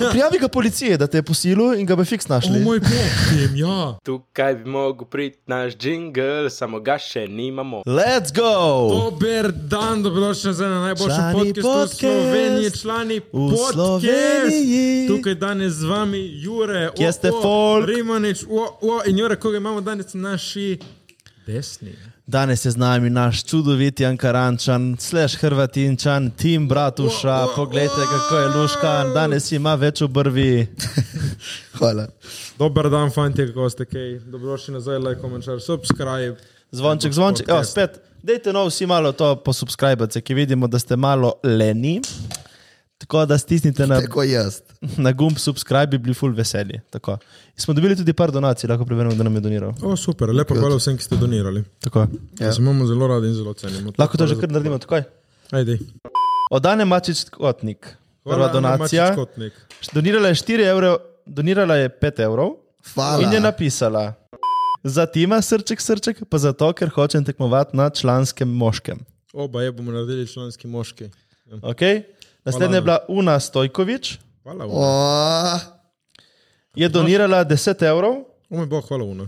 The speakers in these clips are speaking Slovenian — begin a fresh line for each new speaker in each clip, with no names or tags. Prijavi ga policiji, da te je posilil in ga bi fiks
O
našli.
moj bog, tem, ja.
Tukaj bi mogel priti naš jingle, samo ga še nimamo.
Let's go!
Dober dan, dobrodošli nazaj na najboljši
Člani
podcast v
podcast.
Sloveniji, člani podcast.
Sloveniji.
Tukaj danes z vami Jure,
Kje ste, folk?
Rimanič, o, o, in Jure, koga imamo danes na naši desni.
Danes je z nami naš čudoviti Ankarančan, slash Hrvatinčan, tim
O,
Bratuša.
o,
Poglejte,
o.
kako je Luškan, danes ima več obrvi.
Hvala.
Dober dan, fanti, kako ste kaj. Dobrodošli nazaj, like, komentar, subscribe.
Zvonček, zvonček, evo spet. Dajte no vsi malo to posubskrbati, ki vidimo, da ste malo leni. Tako da stisnite na,
Tako jaz.
na gumb subscribe, bi bili ful veseli. Tako. Smo dobili tudi par donacij, lahko preverimo, kdo nam je doniral.
O, super, lepo hvala vsem, ki ste donirali.
Tako.
Ja. Se imamo zelo radi in zelo cenimo.
Lahko to že kar naredimo, takoj.
Ajde.
Od Ane Mačič Kotnik. Prva
Hvala, Ana
donacija.
Mačič-Kotnik.
Donirala je 4 evrov, donirala je 5 evrov
Hvala.
in je napisala. Za tima srček, srček, pa zato, ker hočem tekmovati na članskem moškem.
Oba je bomo naredili članski moški. Ja.
Okay? Naslednja je bila Una Stojkovič,
Hvala, Una.
O,
je donirala 10 evrov,
O moj bog, hvala Una.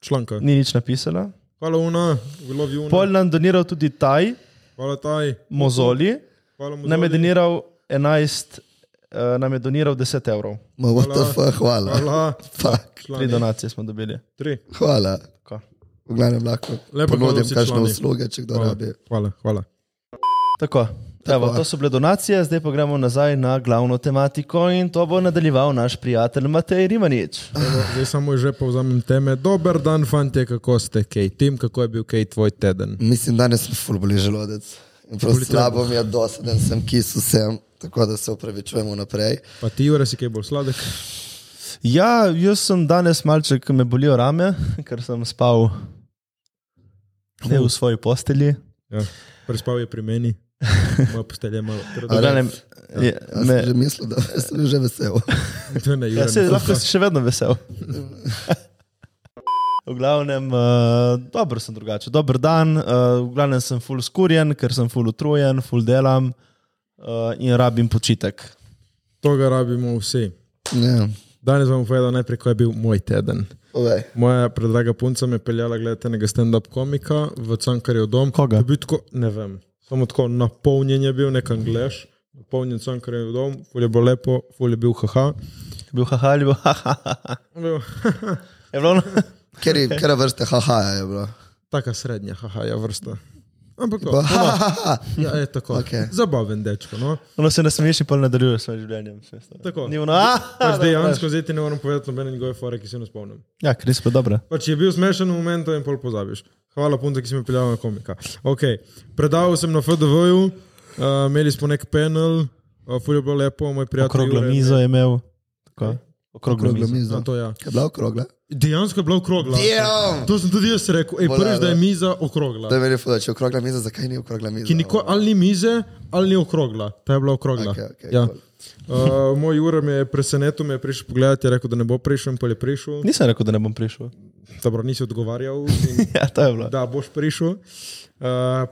Članka.
ni nič napisala.
Hvala Una, we love you Una.
Pol nam doniral tudi taj,
Hvala taj.
Mozoli,
Hvala mu.
nam je doniral 11, uh, nam je doniral 10 evrov.
ma what the fuck, hvala.
Hvala.
Fuck.
Tri
Člani.
donacije smo dobili.
Tri.
Hvala.
Tako.
V glavnem lahko
Lepo hvala
ponudim
vsi
kakšne
člani.
usluge, če kdo
Hvala.
rabi.
Hvala. hvala.
Tako. Evo, to so bile donacije, zdaj pa gremo nazaj na glavno tematiko in to bo nadaljeval naš prijatelj Matej Rimanič.
Evo, Zdaj samo že povzamem teme. Dober dan, fantje, kako ste, Kej? Tim, kako je bil Kej tvoj teden?
Mislim, danes sem ful boli želodec. In prav
Boli
slabo mi je doseden, sem kisu sem, tako da se upravičujem vnaprej.
Pa ti, Jure, si kaj bolj sladek?
Ja, jaz sem danes malček, me bolijo rame, ker sem spal ne v svoji postelji.
Ja. Prespal je pri meni. Moja postelja je malo
V
trdna.
glavnem, je-
Jaz
me-
sem že mislil, da sem že vesel.
To ne, Jure.
Ja, se
ne.
lahko si še vedno vesel. V glavnem, uh, dobro sem drugače. Dober dan, uh, v glavnem sem full skurjen, ker sem full utrujen, full delam uh, in rabim počitek.
To ga rabimo vsi.
Ja,
Danes vam bom povedal najprej, kako je bil moj teden.
povej.
Moja predraga punca me je peljala gledati enega stand-up komika v Cankarjev dom.
Koga?
Je bil tako, ne vem, samo tako napolnjen je bil, nek angliš, napolnjen Cankarjev dom, ful je bilo lepo, ful je bil haha.
Je Bil haha ali bil haha.
Bil,
Je bilo ono?
Ker je kera vrste hahaja je bilo.
taka srednja haha je vrsta. Ampak tako,
Pa, ha, ha, ha.
ja, je tako.
Okej.
Zabaven dečko. No?
ono se nasmeješ in pa nadaljuješ s svojim življenjem.
Tako.
Ni ono, "Ah,
Pač
da, da."
dejansko zdaj ti ne moram povedati nobene njegove fore, ki se ne spomnim.
Ja, Kris pa dobro.
Pač je bil smešen v momentu in pol pozabiš. Hvala, punta, ki si me peljal na komika. Okay. Predaval sem na FDV-ju, uh, imeli smo nek panel, uh, fulje bilo lepo, moj prijatelj.
Okroglo
Jure je
mizo je imel. Tako. Okroglo
Okrogla
mizo.
miza.
imel- A, to, ja.
No, Je bila okrogla?
Dejansko je bila okrogla.
Damn!
To sem tudi jaz rekel. Ej,
Bolelo.
prvič, da je miza
To je
okrogla.
meni fuda, če je okrogla miza, zakaj ni okrogla miza?
Ki nikoli ali ni mize, ali ni okrogla. Ta je bila okrogla.
Okej, okej,
ja.
cool.
uh, moj ura me je presenetil, me je prišel pogledati, je rekel, da ne bo prišel, in pa je prišel.
Nisem rekel, da ne bom prišel.
Dobro, nisi odgovarjal. In...
Ja, to je bilo.
Da boš prišel. Uh,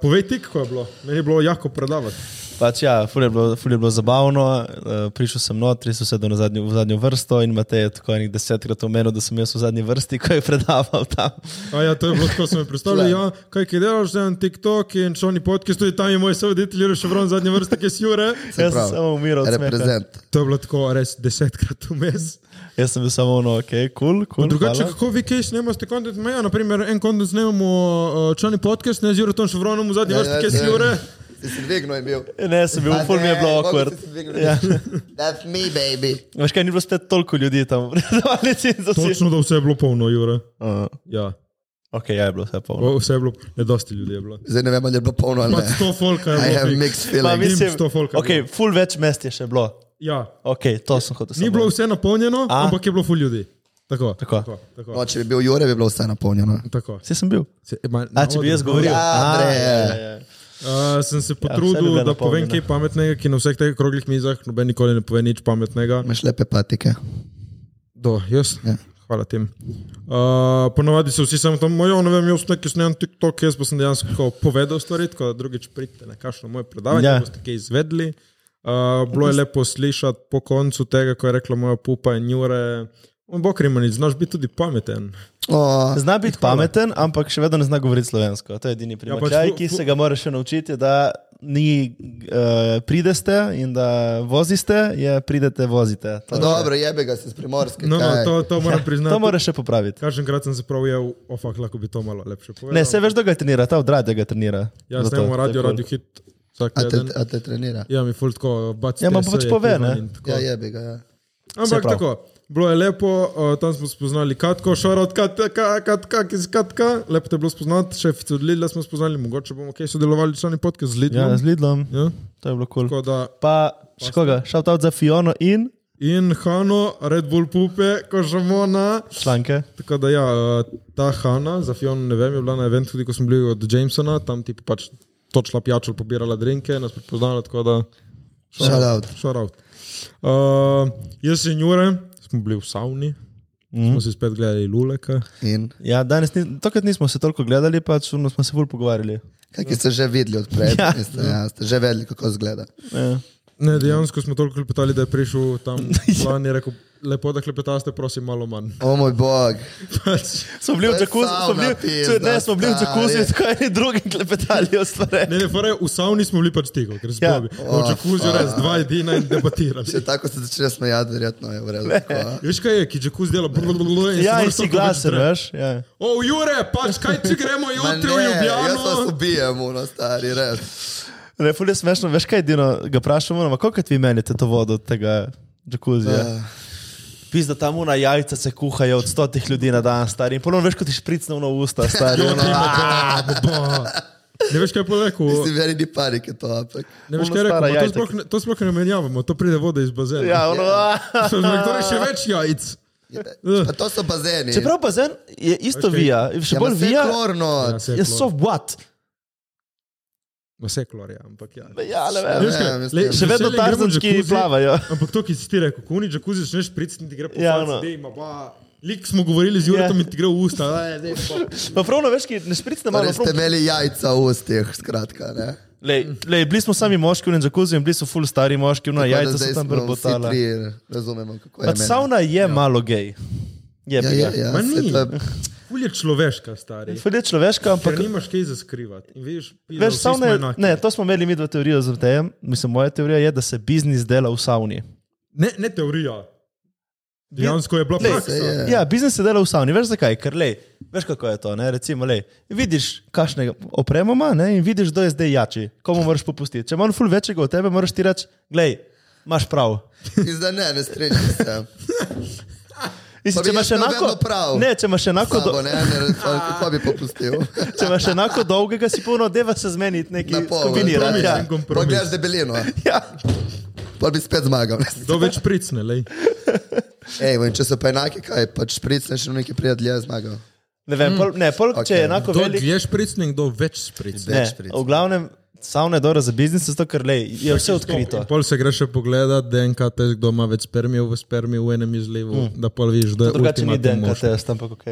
povej ti, kako je bilo. Meni je bilo jako predavati.
Pač ja, ful je bilo, ful je bilo zabavno, eh, prišel sem noter, sem sedel na zadnjo, v zadnjo vrsto in Matej je tako enih desetkrat omenil, da sem jaz v zadnji vrsti, ko je predaval tam.
A ja, to je bilo tako, sem jim predstavljal. Ja, kaj ki delaš, zdaj na TikTok in šoni podcast, tudi tam je moj sovoditelj, Jurek Ševron, zadnje vrste, ki si Jure.
Se
Jaz sem
pravi,
samo umiral od smeha.
Reprezent.
To je bilo tako res desetkrat vmes.
Jaz sem bil samo ono, ok, kul, cool, kul. Cool,
Drugače,
hvala.
kako vi kaj snemate kontent? Ja, naprimer, en kontent snemamo uh, člani podcast, ne z Juretom Ševronom, v zadnji
Ja,
vrsti,
ja,
ki si
ja.
Jure.
Si se dvignil je bil.
E, Ne, sem bil, ful mi je bilo awkward. Ja.
Ja. That's me, baby.
Veš kaj, ni bilo spet toliko ljudi tam, predavali si za vse.
Točno, da vse je bilo polno, Jure.
Uh,
Ja,
ok, ja, je bilo vse polno.
o, vse je bilo, ne dosti ljudi je bilo.
Zdaj ne vem, ali je bilo polno ali
Pa
ne.
sto folka je
I have
bilo.
mixed
Pa
feelings.
mi-
mislim,
sto folka je
ok, ful več mest je še bilo.
Ja,
Ok, to sem hotel
ni
samo
bilo vse napolnjeno,
A?
ampak je bilo full ljudi. Tako,
Tako.
tako, tako.
No, če bi bil Jure, bi bilo vse no. napolnjeno.
tako.
Vse sem bil.
Se, ma,
A, če bi jaz govoril,
Ja,
A,
bre.
ja, ja, ja.
Uh, sem
vse
se
bi
potrudil,
bila
ja, da povem
napolnjena.
kaj pametnega, ki na vseh teh kroglih mizah noben nikoli ne pove nič pametnega.
Imaš lepe patike.
Do, jaz.
Ja.
Hvala tem. Uh, ponovadi so vsi samo tam, "Ja, ne vem, jaz nekaj snemam TikTok, jaz pa sem dejansko tako povedal stvari, tako da drugič pridite na kakšno moje predavanje,
Ja.
ja. boste kaj izvedli. Uh, bilo je lepo slišati po koncu tega, ko je rekla moja pupa in jure. On bo krimanič, znaš biti tudi pameten.
O,
Zna biti pameten, ampak še vedno ne zna govoriti slovensko. To je edini
Ja,
primer.
pač
Ja,
fu-
ki
fu-
se ga moraš še naučiti, je, da ni uh, prideste in da voziste, je pridete, vozite. To,
pa
je
dobro, jebe ga si z primorske.
No, no,
kaj?
to, to moram
še,
priznati.
Ja, to moraš še popraviti.
Kažemkrat sem se prav ujel, ofak, lahko bi to malo lepše povedal.
Ne, se veš, da ga trenira, ta od radia ga trenira.
Jaz
Zato,
ne
to
imam
je
Ja, radio,
cool.
radio hit vsak
A te,
teden.
a te trenira?
Ja, mi ful tako, baci.
Ja, ma pač pove, ne.
Ja, jebe ga. Ja.
Saj
Ampak
prav.
tako, bilo je lepo, uh, tam smo spoznali Katko, šarot Katka, Katka, ki je Katka, lepo te je bilo spoznati, šefico od Lidla smo spoznali, mogoče bomo kaj sodelovali, člani podcast z
Ja,
Lidlom.
z Lidlom,
Ja,
to je bilo kul. Cool.
tako da,
Pa še koga, šel ta za Fiono in
in Hano, Red Bull pupe, kožamona.
članke.
Tako da ja, eh, ta Hanna, za Fiona ne vem, je bila na eventu tudi, ko smo bili od Jamesona, tam ti pač točila pijačo, pobirala drinke, nas prepoznala, tako da...
Shout out.
Shout out. Uh, jaz in Jure smo bili v savni, mm. smo si spet gledali luleka.
In
Ja, danes ni, tokrat nismo se toliko gledali, pač ono smo se bolj pogovarjali.
kaj ste že videli od prej?
Ja.
Ja. Ste, ja, ste že vedeli, kako zgleda.
Ja.
Ne, dejansko smo toliko klepetali, da je prišel tam plan in rekel, lepo da klepetaste, prosim malo manj.
O moj bog.
Pač,
Smo bili v
To je
džakuzi, smo bili,
savna pizda,
ne, smo bili v džakuzi,
stari.
tako eni drugi klepetali o stvareh.
ne, ne, fore, v savni smo bili pač tiho, ker smo
Ja.
bili. V džakuzi res dva edina in debatirali.
Če tako se začne smejati, verjetno je v redu. tako, a?
Veš kaj je, ki džakuz dela? blablabla in se
Ja, in
moraš
si
toliko več
glasen,
dreti.
veš? Ja.
O, Jure, pač kaj če gremo
Ma
jutri v
ne, Jaz vas
Ljubljano?
ubijem, uno stari, res.
Ne, ful je smešno, veš kaj edino, ga vprašamo, no, koliko vi menite to vodo od tega džakuzija?
Ja.
Pizda tam una jajca se kuhajo od stotih ljudi na dan, stari. In ponovno veš, kot ti špricne v usta, stari.
Jo,
ono,
ti ima ga, bo. Ne veš kaj poleku.
Mislim, veri ni parike to, ampak.
Ne veš
ono
kaj
stara
rekel, to
jajca,
sploh, ne, to sploh ne menjavamo, to pride voda iz bazena.
Ja, ono, a.
Sem rekel, torej še več jajc. Ja,
Pa to so bazeni.
Čeprav pa zen je isto
Veš kaj?
vija, še
ja,
bolj vija,
Klorno.
Ja, se
je so what.
Vse klor je, ampak ja.
Ja, ne vem.
Veš kaj,
Ja, mislim.
le-
Še vedno
veselje gremo v
tarzanski
jacuzzi,
plavajo.
Ampak to, ki si ti rekel, ko v jacuzzi začneš priciti, ti gre po
Ja,
ja,
ono.
faci, dej, ima ba. Lik smo govorili z Juretom
Ja.
in ti gre v usta. "Aj, daj, pa."
Pa pravno veš, ki ne špricne malo.
Torej ste imeli jajca v ustih, skratka. Ne?
Lej, lej, bili smo sami moški v Njakuziju in bili so full stari moški, no
Tako da
jajca
zdaj
so tam
smo vsi
brbotala.
trije, Razumemo, kako je.
Pač
meni.
savna je ja. malo gej. Je
Ja,
ja, ja,
ja,
ja.
ja,
Ma
saj
ni.
to je-
Ful je človeška, stari.
Fede človeška,
Ker
ampak
nimaš kaj za skrivati. In veš, pizda,
Ja, veš,
vsi smo
savna je,
enaki.
ne, to smo imeli mi dva teorijo z tem, mislim, moja teorija je, da se biznis dela v savni.
Ne, ne teorija. Dejansko je bila
Lej,
praksa.
saj je.
Ja, biznis se dela v savni, veš zakaj, ker lej, veš kako je to, ne, recimo, lej, vidiš, kakšne opremo ima ne, in vidiš, kdo je zdaj jači, komu moraš popustiti. Če imaš ful večjega od tebe, moraš ti reči, glej, imaš prav.
Zdaj ne, ne strinjam se.
Mislim,
Pa
če
bi
imaš
jaz imel
enako,
vedno no, prav.
ne, če imaš enako, do,
Sabo, ne, ne, razumem, kako bi popustil.
Če imaš enako dolgega, si polno deva se zmeniti, nekaj
Na pol,
kombinirati.
kompromis,
Ja.
en kompromis.
Poglej, debelino,
Ja.
pa bi spet zmagal.
Kdo več pricne, lej.
Ej, in če so pa enaki, kaj, pač pricneš in nekaj prijatelj je zmagal.
Ne vem, pol, ne, pol, okay. če je
Okej.
enako
Kdo
velik.
dlje špricne, kdo več špricne.
Ne,
več pritisk.
v glavnem, savna je dobra za biznis, zato ker lej, je vse odkrito.
In Pol se gre še pogledat, DNK test, kdo ima več spermijev v spermiju v enem izlivu, mm. da pol vidiš, da je
Hmm. Drugače ni
ultimatum
den, kaj
mož.
test, ampak ok.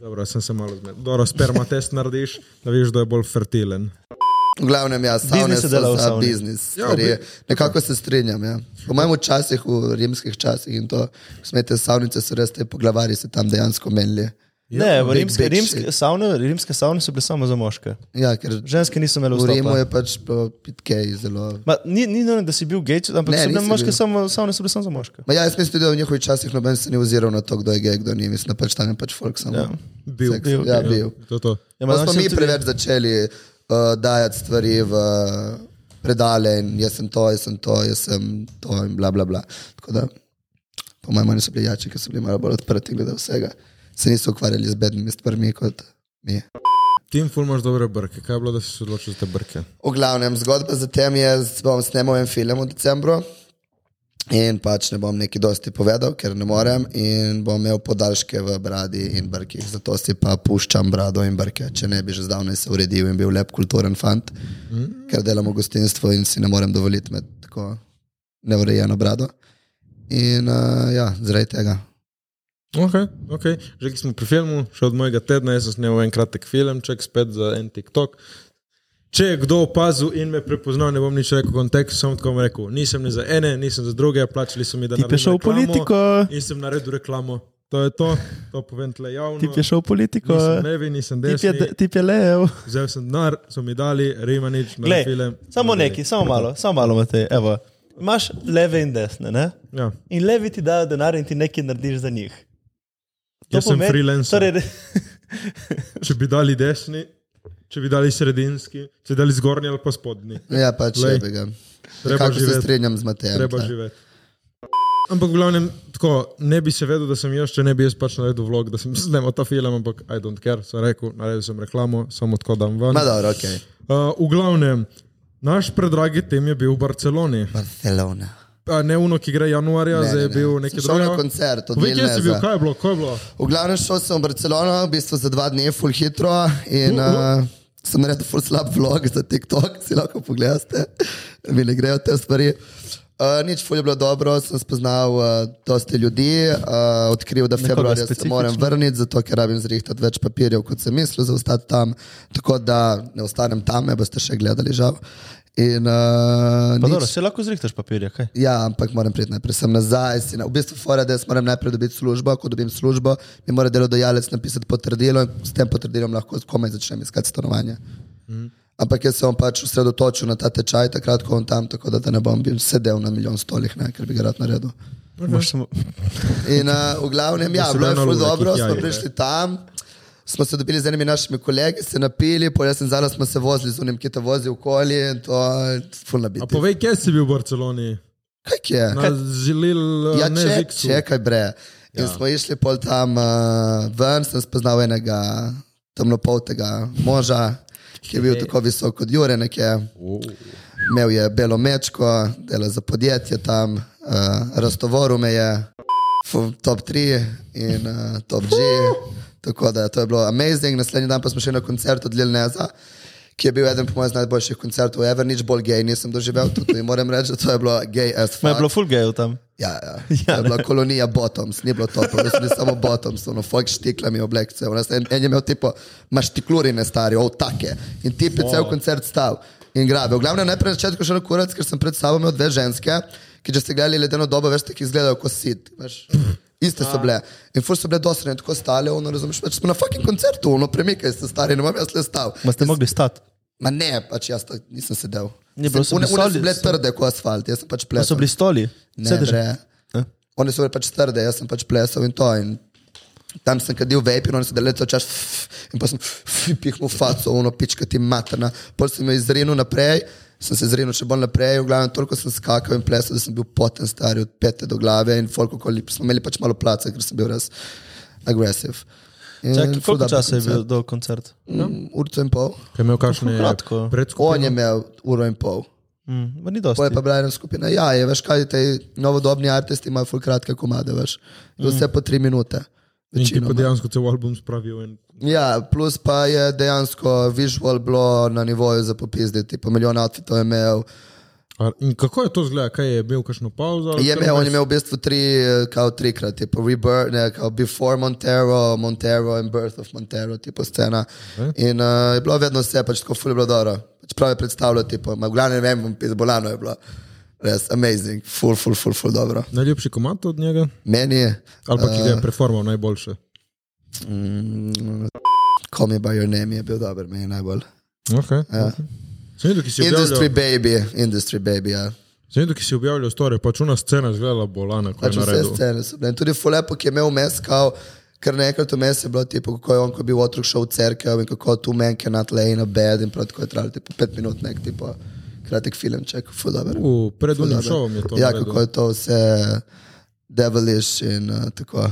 Dobro, sem se malo zmedel. Dobro, sperma test narediš, da vidiš, da je bolj fertilen.
V glavnem, ja, savne
Biznis se
so
dela v
za
savni.
biznis.
Ja,
Stvari.
bi-
Nekako se strinjam. Ja. Po mojem časih, v rimskih časih in to, smete savnice, so res te poglavari se tam dejansko menili.
Ne, v
big,
rimske,
big
rimske,
shit.
savne, rimske savne so bile samo za moške.
Ja, ker
Ženske niso imele
v Rimu
vstopa.
je pač pitkej zelo.
Ma, ni, ni nujno, da si bil gej, če- ampak
Ne,
so bile
nisem
moške,
bil.
samo, savne so bile samo za moške.
Ma ja, jaz mislim, tudi, da v njihovih časih noben se ni oziral na to, kdo je gej, kdo ni. Mislim, da pač tam je pač folk samo.
Ja.
Bil.
Seks. Bil, ja, bil.
To, je to.
Ja, ma
Pa smo
danes je
mi
tudi-
preveč začeli uh, dajati stvari v predale in jaz sem to, jaz sem to, jaz sem to in bla bla bla. Tako da, po mojem, oni so bili jači, ker so bili malo bolj odprti glede vsega. Se niso ukvarjali z bednimi stvarmi kot mi.
Tim, ful imaš dobre brke. Kaj je bilo, da si se odločil za te brke?
V glavnem, zgodba za tem je, da bom snemal en film v decembru in pač ne bom neki dosti povedal, ker ne morem in bom imel podaljške v bradi in brkih. Zato si pa puščam brado in brke, če ne bi že zdavnaj se uredil in bil lep kulturen fant,
Mm.
ker delam v gostinstvu in si ne morem dovoliti med tako neurejeno brado. In uh, ja, zaradi tega.
Okay, okay. Že ki smo pri filmu, še od mojega tedna, jaz sem snel en kratek filmček, spet za en TikTok. Če je kdo opazil in me prepoznal, ne bom nič rekel, kontekst sem tako bom rekel. Nisem ne za ene, nisem za druge, plačali so mi, da
Tip je
naredim
šel v
reklamo
Ja,
politiko.
no.
In sem naredil reklamo. To je to, to povem tle javno.
Tip je šel v politiko,
Nisem levi, nisem
tip
desni,
je, de- tip je lev.
vzel sem denar, so mi dali, rima nič,
Glej,
na film.
samo
naredili.
neki, samo malo, samo malo, Matej. Evo. Imaš leve in desne, ne?
Ja.
In levi ti dajo denar in ti nekaj narediš za njih. To
Jaz sem
pomeni-
freelancer.
Torej, re-
Če bi dali desni, če bi dali sredinski, če bi dali zgornji ali pa spodnji,
Ja, pač
Glej,
je tega.
treba
Kako se
živeti.
strinjam z Matejem.
treba
tle.
živeti. Ampak, v glavnem, tako, ne bi se vedel, da sem jaz, če ne bi jaz pač naredil vlog, da sem snemal ta film, ampak I don't care, sem rekel, naredil sem reklamo, samo tako dam ven.
Ma dobro, ok.
Uh, v glavnem, naš predragi tem je bil v Barceloni.
Barcelona.
A ne uno, ki gre januarja, zdaj je bil neki
Sem šel
drugi.
na koncert od
Povej, kje si bil,
Vilneza.
kaj je bilo, kaj je bilo?
V glavnem šel sem v Barcelono, v bistvu za dva dni, full hitro in uh, sem naredil full slab vlog za TikTok, si lahko pogledate, mi ne grejo te stvari. Uh, nič ful je bilo dobro, sem spoznal uh, dosti ljudi, uh, odkril, da februarja se
specifično?
moram vrniti, zato ker rabim zrihtati več papirjev, kot sem mislil, za ostati tam. Tako da ne ostanem tam, me boste še gledali, žal. In, uh,
Pa
nič-
dobro, se lahko zrihtaš papirje, kaj?
Ja, ampak moram priti najprej sem nazaj. si Na, v bistvu, fora, da jaz moram najprej dobiti službo, ko dobim službo, mi mora delodajalec napisati potrdilo in s tem potrdilom lahko komaj začnem iskati stanovanje.
Mhm.
Ampak jaz se bom pač osredotočil na ta tečaj, takrat, ko bom tam, tako da, da ne bom bil sedel na milijon stolih, ne, ker bi ga rad naredil.
Okay. Samo...
In uh, v glavnem, ja,
Da se
bilo je
dajo
zelo
naloge,
dobro,
ki jih
smo
jajejo,
prišli tam. Smo se dobili z enimi našimi kolegi, se napili, pojjo sem zala, smo se vozili z unim, ki te vozi okoli in to je fulna
A
biti.
povej, No, kje si bil v Barceloni?
Kaj je?
Na Žilil,
Ja,
ne
če,
Ziksu.
čekaj, bre. In ja. smo išli pol tam uh, ven, sem spoznal enega temnopoltega moža, ki je bil tako visok kot Jure, nekje. Imel je belo mečko, dela za podjetje tam, uh, raztovoril me je, fu- top 3 in uh, top G. Tako da to je bilo amazing. Naslednji dan pa smo še na koncert od Lilneza. Ki je bil eden po mojem najboljših koncertov, ever, nič bolj gej nisem doživel, tudi moram reči, da to je bilo gej as
Ma je
fuck.
bilo full gejov tam.
Ja, ja. ja je bila kolonija Bottoms, ni bilo to, bili so bili samo Bottoms, ono, folk s štiklami oblekce. Ono, En, en je imel tipo, imaš štiklurine stari, o take. In ti je cel koncert stal in grabil. Glavno najprej na začetku šel na kurac, ker sem pred sabo imel dve ženske, ki če ste gledali ledeno dobo, veš, tako izgledajo kot sit. Veš. Iste so bile. In fur so bile dosredne, tako stale, ono, razumeš, več smo na fucking koncertu, ono, premikaj se stari, ne bom jaz le stal.
Ma ste mogli stati.
Ma ne, pač jaz tak, nisem sedel.
Ni bilo, so
Sem-
bili
one- one
soli-
so bile trde kot asfalt, jaz sem pač plesal.
So bili stoli.
Ne,
Sedež.
bre. Oni so bili pač trde, jaz sem pač plesal in to. In tam sem kadil vape in oni so delali to čas. In pa sem pihnil v faco, ono pička ti materna. Pol sem jo izrinil naprej, sem se izrinil še bolj naprej. V glavnem toliko sem skakal in plesal, da sem bil poten star od pete do glave in folk okoli. Smo imeli pač malo placa, ker sem bil res agresiv. In
Čakaj,
ful
koliko
dober
časa je
koncert.
bil no? do koncerta?
Mm, Urico in pol.
Kaj je imel kakšne
Kratko.
On
predskupine?
je imel uro in pol.
Mm, ma ni
To je
dosti.
pa bila ena skupina. Ja, je, veš kaj, te novodobni umetniki imajo ful kratke komade, veš. Je Vse po tri minute.
In ti pa
večinoma.
dejansko cel album spravil. In...
Ja, plus pa je dejansko vizual bilo na nivoju za popizditi, pa milijon outfitov je imel.
A- in kako je to zgleda, kaj je imel kakšno pauzo? ali
Je
kar
imel, on
vmes?
je imel v bistvu tri, eh, kao trikrat, tipo Rebirth, ne, kao Before Montero, Montero in Birth of Montero, tipo scena. In uh, je bilo vedno vse, pač tako ful je bilo dobro. Pač prav je predstavljal, tipo, ma v glavnem ne vem, bolano je bilo. Res, amazing, ful, ful, ful, ful dobro.
Najljubši komat od njega,
Meni je,
ali pa ki ga
Eh.
je performal najboljše.
Mm, Call me by your name je bil dober, meni najbolj.
Okay. Ja. Sem videl, ki si
Industry
objavljal,
baby, industry baby. Ja.
sem videl, ki si objavljal story, pač ona scena je izgledala bolana, ko je
Pač vse
naredil.
scene so bile. In tudi Fulepo, ki je imel mes, kao, ker nekrat vmes je bilo tipo, kako je on, ko je bil otrok šel v cerkev in kako tu men cannot lay in a bed in prav tako je trajalo tipo pet minut nek tipo kratek filmček, ful dober.
U, Pred
ful
unim
dober.
šovom je to
Ja,
naredil.
kako je to vse devilish in uh, tako.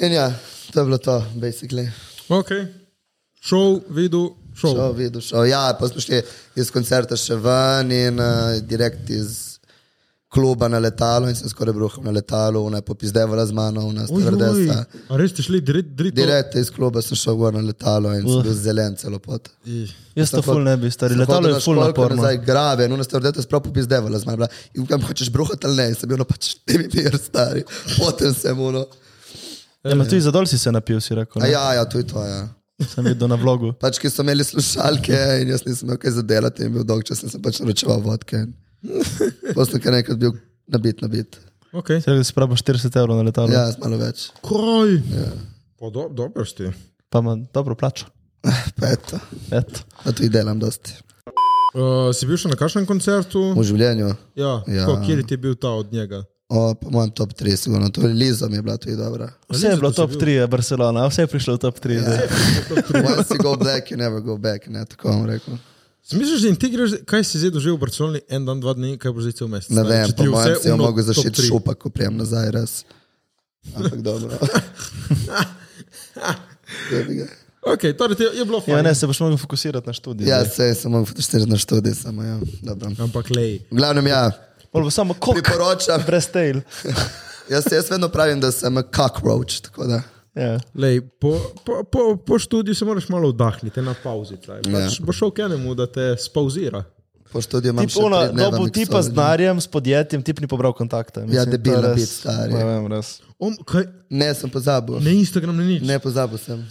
In ja, to je bilo to, basically.
Okay. Šov, videl, šov.
Šel, videl, šel. Ja, pa smo šli iz koncerta še ven in uh, direkt iz kluba na letalo in sem skoraj bruhal na letalu, ona je popizdevala z mano, ona je strdesa.
A res ste šli direkt, direkt.
Direkt iz kluba sem šel gor na letalo in sem bil zelen celo pot.
Jaz to ful ne bi, stari. Letalo je ful naporno.
Zdaj grave, no, ste vrdete, sprav popizdevala z mano. bila, In kam hočeš bruhati ali ne, In sem bil no pač ti mi mir, stari. Potem sem uno.
Ja, ma tudi zadol si se napil, si rekel.
A
ne?
ja, ja, to je to, ja.
sem videl na vlogu.
Pač, ki so imeli slušalke in jaz nisem imel kaj za delati, in bil dolg čas, sem se pač naročeval vodke. Poslal je nekaj bil nabit, nabit.
Okay.
Sredi si pravi 40 evrov na letalo, ja.
Ja, malo več.
Kraj. Ja. Do, Dobro si. Eh, ti.
pa ima dobro plačo.
Pa eto,
Eto.
na to jih delam dosti.
Uh, si bil še na kakšnem koncertu?
V življenju,
Ja,
Ja.
ja. Ko, kjer ti je bil ta od njega?
o, po mojem top 3, sigurno, to je Lizo no, torej mi je bila tudi dobra.
Vse je bilo top 3, Barcelona, vse je prišlo v top 3. Ja.
Once you go back, you never go back, ne, tako vam rekel.
Misliš, da ti greš, kaj si zdaj doživel v Barceloni, en dan, dva dni, kaj boš zdaj cel mesec?
Ne vem,
Če ti je vse
po mojem se je
uno
mogel
top
zašiti
tri.
šupak, ko prijem nazaj res. Ampak dobro. Jebi ga.
Ok, torej ti je, je bilo
Ja,
fajn.
ne, se boš mogel fokusirati na študij.
ja,
zdaj.
se sem mogel fotoštirati na študij, samo ja, dobro.
Ampak lej.
V glavnem ja,
Pol bo samo kok,
priporočam.
brez tail.
Jaz, jaz vedno pravim, da sem cockroach, tako da.
Ja.
Lej, po, po, po, po študiju se moraš malo oddahniti, na pauzi. Tlaj. Pač ja. Bo šel k enemu, da te spauzira.
Po študiju imam
Tip,
še
ona,
tri
no,
dneve
dobil tipa z
miksology.
denarjem, s podjetjem, tip ni pobral kontakta. Mislim, to je
Ja, debil na
res-
bit, stari.
Ne vem, res.
On, kaj,
Ne, sem pozabil.
ne Instagram, ne nič.
Ne, pozabil sem.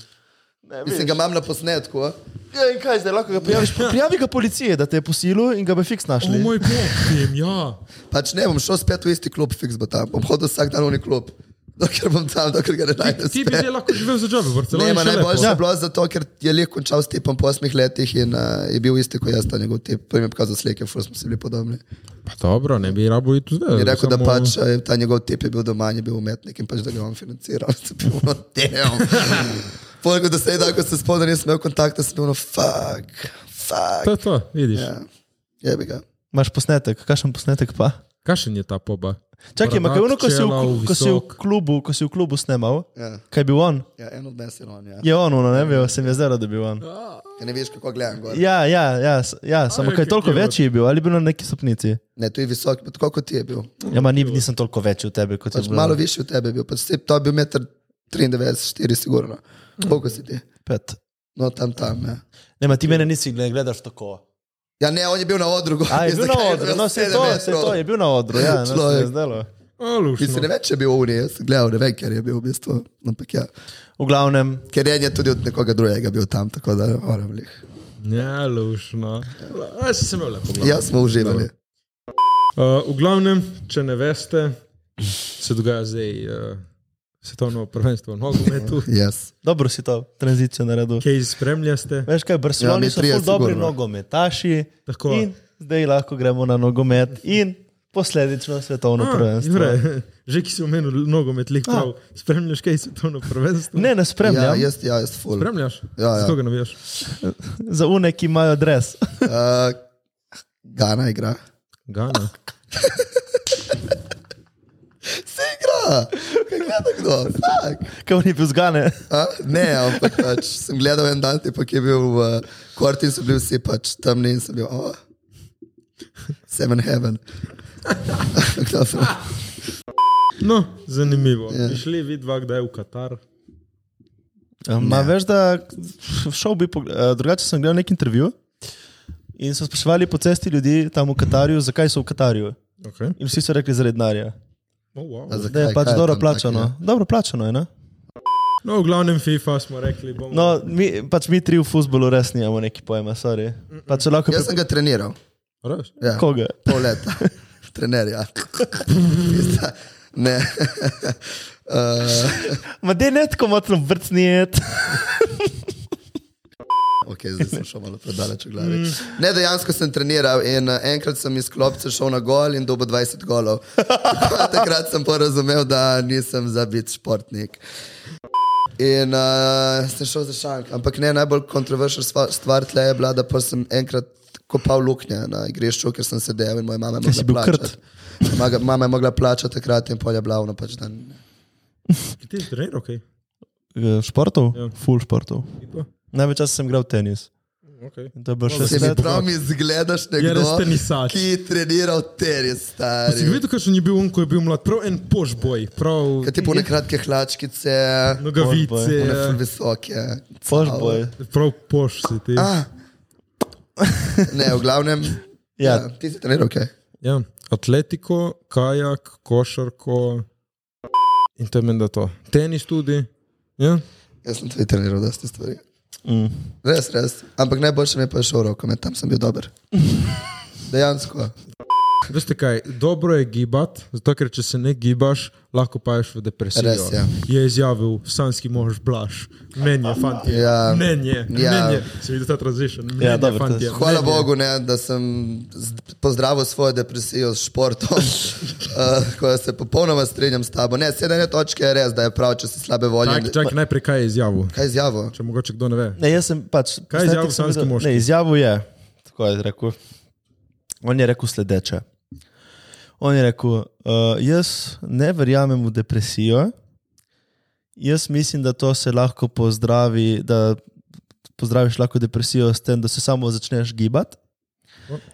Ne,
Mislim, ga imam na posnetku. a.
Ja, in kaj zdaj, lahko ga prijaviš?
Ja.
Prijavi ga policiji, da te je posilil in ga bi fiks
O
našli.
moj bog, tem, ja.
Pač ne, bom šel spet v isti klub, fiks bo tam. Bom hodil vsak dan v neki klub. Dokler bom tam, dokler ga ne najdem.
Ti bi
spet.
zdaj lahko živel za džabe, v Barceloni.
Ne, ma
še
najboljše
lepo.
je bilo zato, ker je lih končal s tipom po osmih letih in uh, je bil isti kot jaz, ta njegov tip. Prvi mi je pokazal slike, ful smo si bili podobni.
Pa dobro, ne bi rabo iti zdaj.
Je rekel, da pač eh, ta njegov tip je bil doma, in je bil umetnik in pač da ga je on financiral. Sem bil ono del. Poleg da se je dal, ko sem spomnil, da nisem imel kontakta, sem bil ono fuck,
To
fuck.
je to, vidiš. Ja.
Ja, jebi ga.
Imaš posnetek, kakšen posnetek pa?
Kakšen je ta poba?
Čakaj, ma kaj ono, ko si, v,
Čelav,
ko, si v
visok.
klubu, ko si v klubu snemal,
Ja.
kaj bi on?
Ja, en od nas je on, ja.
Je on, ono, ne vem, sem jaz zdaj, da bi on.
Ker ne veš, kako gledam gor.
Ja, ja, ja, s- ja samo kaj toliko večji je bil, ali je bil na neki stopnici.
Ne, tu je visok, pa tako kot ti je bil.
Ja, ma ni, nisem toliko večji od tebe kot
Pač
jaz.
malo višji od tebe je bil, pač sep, to je bil meter 93, 4 sigurno. Koliko si ti?
Pet.
No, tam, tam, ja.
Ne, ma ti mene nisi, ne gledaš tako.
Ja, ne, on je bil na odru. gor,
A, je bil
zakaj
na
je
odru,
bil
no, se
sedem
to, se
metrov?
to, je bil na odru, ja, no, se mi je
Človek.
zdelo.
Aluš.
Mislim, ne več je bil unij, jaz sem gledal, ne vem, ker je bil v bistvu. Ampak ja,
V glavnem,
ker en je tudi od nekoga drugega bil tam, tako da moram lih.
Ja, lušno. Ja, si se imel lepo. glavo.
Ja, smo uživali.
Uh, v glavnem, če ne veste, se dogaja zdaj uh, svetovno prvenstvo v nogometu.
Yes.
dobro si to tranzicijo naredil.
Kaj spremljate?
Veš kaj, v Barceloni
Ja, mi
ja, so
trije
zelo dobri
sigurno.
nogometaši
Tako.
in zdaj lahko gremo na nogomet in posledično svetovno A, prvenstvo.
Že ki si omenil nogomet, lih prav. Spremljaš kaj svetovno prvenstvo?
Ne, ne
Ja,
spremljam, ja,
jaz, ja, jaz ful.
Spremljaš?
Ja, ja.
Zato ga navijaš.
za une, ki imajo dres.
Uh, Gana igra.
Gana.
Se igra, kaj gleda kdo? Fuck.
Kaj ni bil zgane.
A? Ne, ampak pač, sem gledal en dan, tipa, ki je bil v uh, kvartu in so bili vsi pač temni in sem bil, oh, seven heaven. Dobro.
No, zanimivo.
Ja.
Ja. Šli vidva, kdaj je v Katar.
Ma veš, da šel bi, pog- eh, drugače sem gledal nek intervju in so spraševali po cesti ljudi tam v Katarju, zakaj so v Katarju.
Okay.
In vsi so rekli zaradi denarja.
Oh, wow.
A zakaj,
Da je pač
kaj
dobro
tam
plačano.
takega?
Dobro plačano je, ne?
No, v glavnem FIFA smo rekli, bomo.
No, mi, pač mi tri v futbolu res nimamo neki pojma, sorry. Pač se lahko
Jaz sem
pri...
ga treniral.
Res?
Ja.
Koga?
Pol leta, trenerja. Pizda. ne. uh,
Ma de ne tako močno vrtnijet.
ok, zdaj sem šel malo predaleč v glavi.
Mm.
Ne, dejansko sem treniral in uh, enkrat sem iz klopca šel na gol in dobil 20 golov. Tako da Takrat sem pa razumel, da nisem za biti športnik. In uh, sem šel za šank. Ampak ne, najbolj kontroverzna sva- stvar tle je bila, da pa sem enkrat kopal luknje na igrišču, ker sem sedel in moja mama je
si
mogla
bil krt.
plačati. Maga- Mama je mogla plačati takrat in polja blavno pač dan.
Ti si treniral, kaj?
Športov?
Ja.
Full športov.
FIFA?
Največ časa sem igral tenis.
Okay.
In to je bilo še Ja,
Se mi
sedem.
prav mi zgledaš
Je
nekdo,
res tenisač.
ki je treniral teres,
Si
stari.
videl, kakšen je bil on, ko je bil mlad, prav en pošboj, prav
Kaj ti pune Ja, kratke hlačkice,
nogavice,
Pošboj.
pune
ja.
ful visoke.
Fošboj.
prav poš si ti.
Ah. Ne, v glavnem.
Ja.
Ja, ti si treniral, kaj?
Ja. Atletiko, kajak, košarko in to je menda to. Tenis tudi. Ja.
Jaz sem tudi treniral, da ste stvari. Res, res. Ampak najboljše mi je pa šel roko, tam sem bil dober. Dejansko.
Veste kaj, dobro je gibati, zato ker če se ne gibaš, lahko paješ v depresijo.
Res, ja.
Je izjavil sanski mož Blaž. Meni je, fanti.
Ja.
Meni je,
Ja.
meni je. Se vidi ta transition. Meni
Ja,
je,
dobro,
fantje,
to je-
Hvala
meni je.
Bogu, ne, da sem z- pozdravil svojo depresijo s športom. uh, ko se popolnoma strinjam s tabo. Ne, sedaj ne točke je res, da je prav, če si slabe volje.
Čakaj, čakaj, najprej kaj je izjavil,
Kaj izjavo?
če mogoče kdo ne ve.
Ne, jaz sem pač.
Kaj je izjavil
posnetek sem
sanjski
videl-
moški?
Ne, izjavil je, tako je rekel. On je rekel sledeče. On je rekel, uh, jaz ne verjamem v depresijo, jaz mislim, da to se lahko pozdravi, da pozdraviš lahko depresijo s tem, da se samo začneš gibati.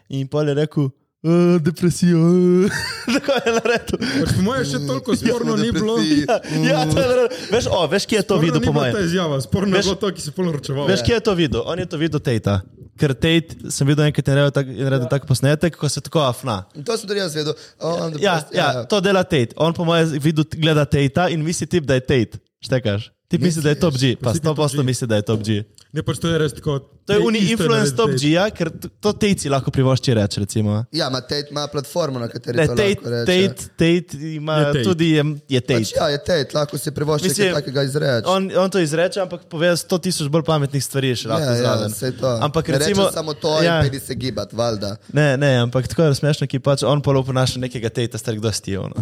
In pa je rekel, "Eh, depresijo. eh." Tako je naredil.
Pač po mojem še toliko sporno ni bilo.
Ja, to je naredil. Veš, o, veš, kje je to
Sporno
videl,
ni
po
bila ta
mojem?
izjava, sporno je
Veš-
bilo to, ki si polno ročeval.
Veš, kje je to videl? On je to videl Tejta. Ker Tejt, sem videl enkrat in naredil tak, in naredil tak posnetek, ko se tako afna.
To sem tudi jaz vedel. Oh, I'm
Ja,
depressed.
ja, to dela Tejt. On po mojem vidu gleda Tejta in misli tip, da je Tejt. Štekaš? Ti misli, da je top G, pa 100% misli, da je top G.
Ne, pač to je res tako.
To je uni
isto
influence
naredil
top
Tate.
G-ja, ker t- to Tejci lahko privošči reči, recimo.
ja ima, Tate, ima platformo, na kateri
Ne,
to
Tejt,
lahko reče.
Tejt, Tejt ima
Je Tate.
tudi je, je Tejt.
Pač, ja, pač. je Tate, lahko si privošči
Mislim,
nekaj takega izreči.
On, on to izreče, ampak pove 100 tisoč bolj pametnih stvari še lahko
ja, ja,
zraven.
saj to.
Ampak
Ne
recimo,
reče samo to ja. in pedi se gibati, valjda.
Ne, ne, ampak tako je smešno, ki pač on polo ponaša nekega teta, star kdo sti, ono.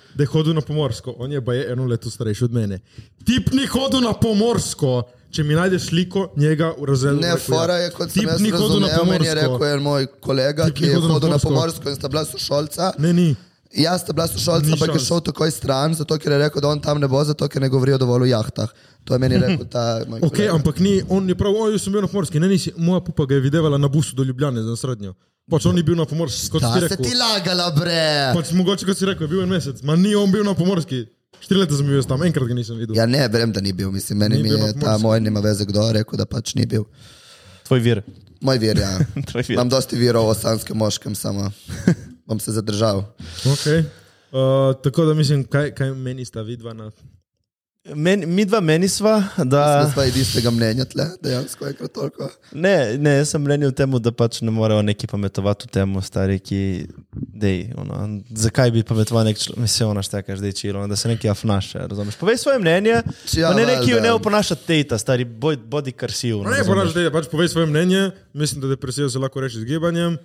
da je hodil na pomorsko. On je pa je eno leto starejši od mene. Tip ni hodil na pomorsko. Če mi najdeš sliko njega v razredu,
Ne,
bom rekel, ja.
fora je, kot sem
Tip
jaz
ni hodil na
razumel, meni je
Pomorsko.
rekel ja. en moj kolega,
Tip
ki
ni
je
hodil na
hodil na
Pomorsko.
pomorsko in sta bila sošolca.
Ne, ni.
Jaz sta bila sošolca,
Ni
ampak je
šans.
šel takoj stran, zato ker je rekel, da on tam ne bo, zato ker ne govorijo dovolj o jahtah. To je meni rekel ta moj
Ok,
kolega.
ampak ni, on je prav, oj, jaz sem bil na pomorski, ne, nisi, moja pupa ga je videvala na busu do Ljubljane za srednjo. Pač on je bil na pomorski, kot si
Da se
rekel.
ti lagala, bre.
Pač mogoče, kot si rekel, je bil en mesec, ma ni on bil na pomorski. Štiri leta sem bil jaz tam, enkrat ga nisem videl.
Ja, ne, verjamem, da ni bil, mislim, meni
Ni
mi
bil na
je ta
Pomorskem.
moj, nima veze kdo, rekel, da pač ni bil.
Tvoj vir.
Moj vir, ja.
Tvoj vir.
Imam dosti virov o sanskem moškem, samo bom se zadržal.
Okay. Uh, tako da mislim, kaj, kaj meni sta vidva na
Men, mi dva meni sva, da...
Zdaj je istega mnenja tle, dejansko je kot toliko.
Ne, ne, jaz sem mnenil temu, da pač ne morejo neki pametovati o tem, stari, ki dej. Ono, zakaj bi pametoval nek človek, misli, ona šteka, zdaj čilo, da se neki afnaše, razumeš? Povej svoje mnenje,
Ja,
pa ne neki
valjda.
ne oponaša teta, stari, boj, bodi karsiv.
No, Ne, moraš reči, pač povej svoje mnenje. Mislim, da depresijo se lahko reši z gibanjem.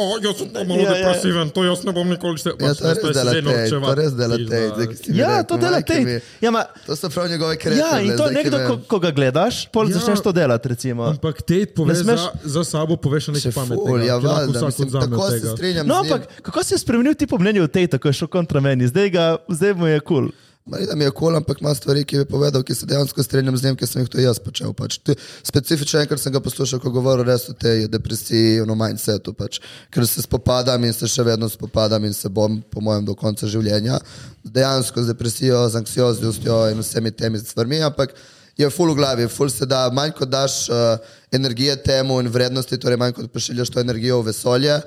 O, jaz sem pa malo
Ja, ja.
ja, depresiven, ja. to jaz ne bom nikoli štel. Pač,
Ja, to je res delate, to je res delate.
eh,
Ja, to dela tate. Ja, ma,
To so prav njegove krepitve.
ja, in to nekdo, ko, ko ga gledaš, pol
Ja.
ja. začneš to delati, recimo.
Ampak te poveš
Ne smeš-
smeš... za, za sabo, poveš še
se
nekaj pametnega.
ful, ja,
ki lahko
valjda,
vsak
mislim,
odzame od
tako se
tega.
strinjam.
No,
z njim.
ampak kako si je spremenil ti po mnenju teta, ko je šel kontra meni, zdaj, ga, zdaj mu je kul. Cool.
Mali da mi je kol, ampak ima stvari, ki bi povedal, ki se dejansko strinjam z njim, ker sem jih tudi jaz počel. Pač. Te- Specifično enkrat sem ga poslušal, ko govoril res o tej depresiji, ono mindsetu, pač. ker se spopadam in se še vedno spopadam in se bom, po mojem, do konca življenja. Dejansko z depresijo, z anksioznostjo in vsemi temi stvarmi, ampak je ful v glavi, ful se da, manj kot daš uh, energije temu in vrednosti, torej manj kot pošiljaš to energijo v vesolje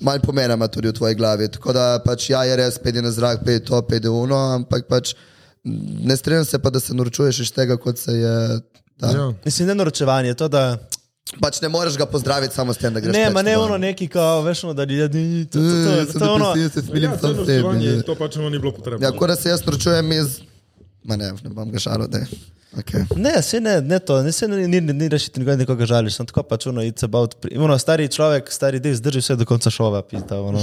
manj pomena ima tudi v tvoji glavi. Tako da pač ja, je res, pedi na zrak, pedi to, pedi uno, ampak pač ne strinjam se pa, da se norčuješ iz tega, kot se je. Ta.
Ja.
Mislim, ne naročevanje, to da.
Pač ne moreš ga pozdraviti samo s tem, da greš.
Ne,
pač
ma ne
domov.
ono neki, kao, veš, ono, da ljudje. To, to, to, to, to, to, ono,
Depresiv se smilim
Ja, to
sam
je norčevanje in
sebi.
to pač ono ni bilo potrebno.
Ja, kot da se jaz norčujem iz. Ma ne, ne bom ga šalo, da je. Okay.
Ne, se ne, ne to, ne, se ni, ni, ni rešiti nikoli nekoga žališ, sem tako pač ono, it's about, pri- ono, stari človek, stari del, zdrži vse do konca šova, pita, ono.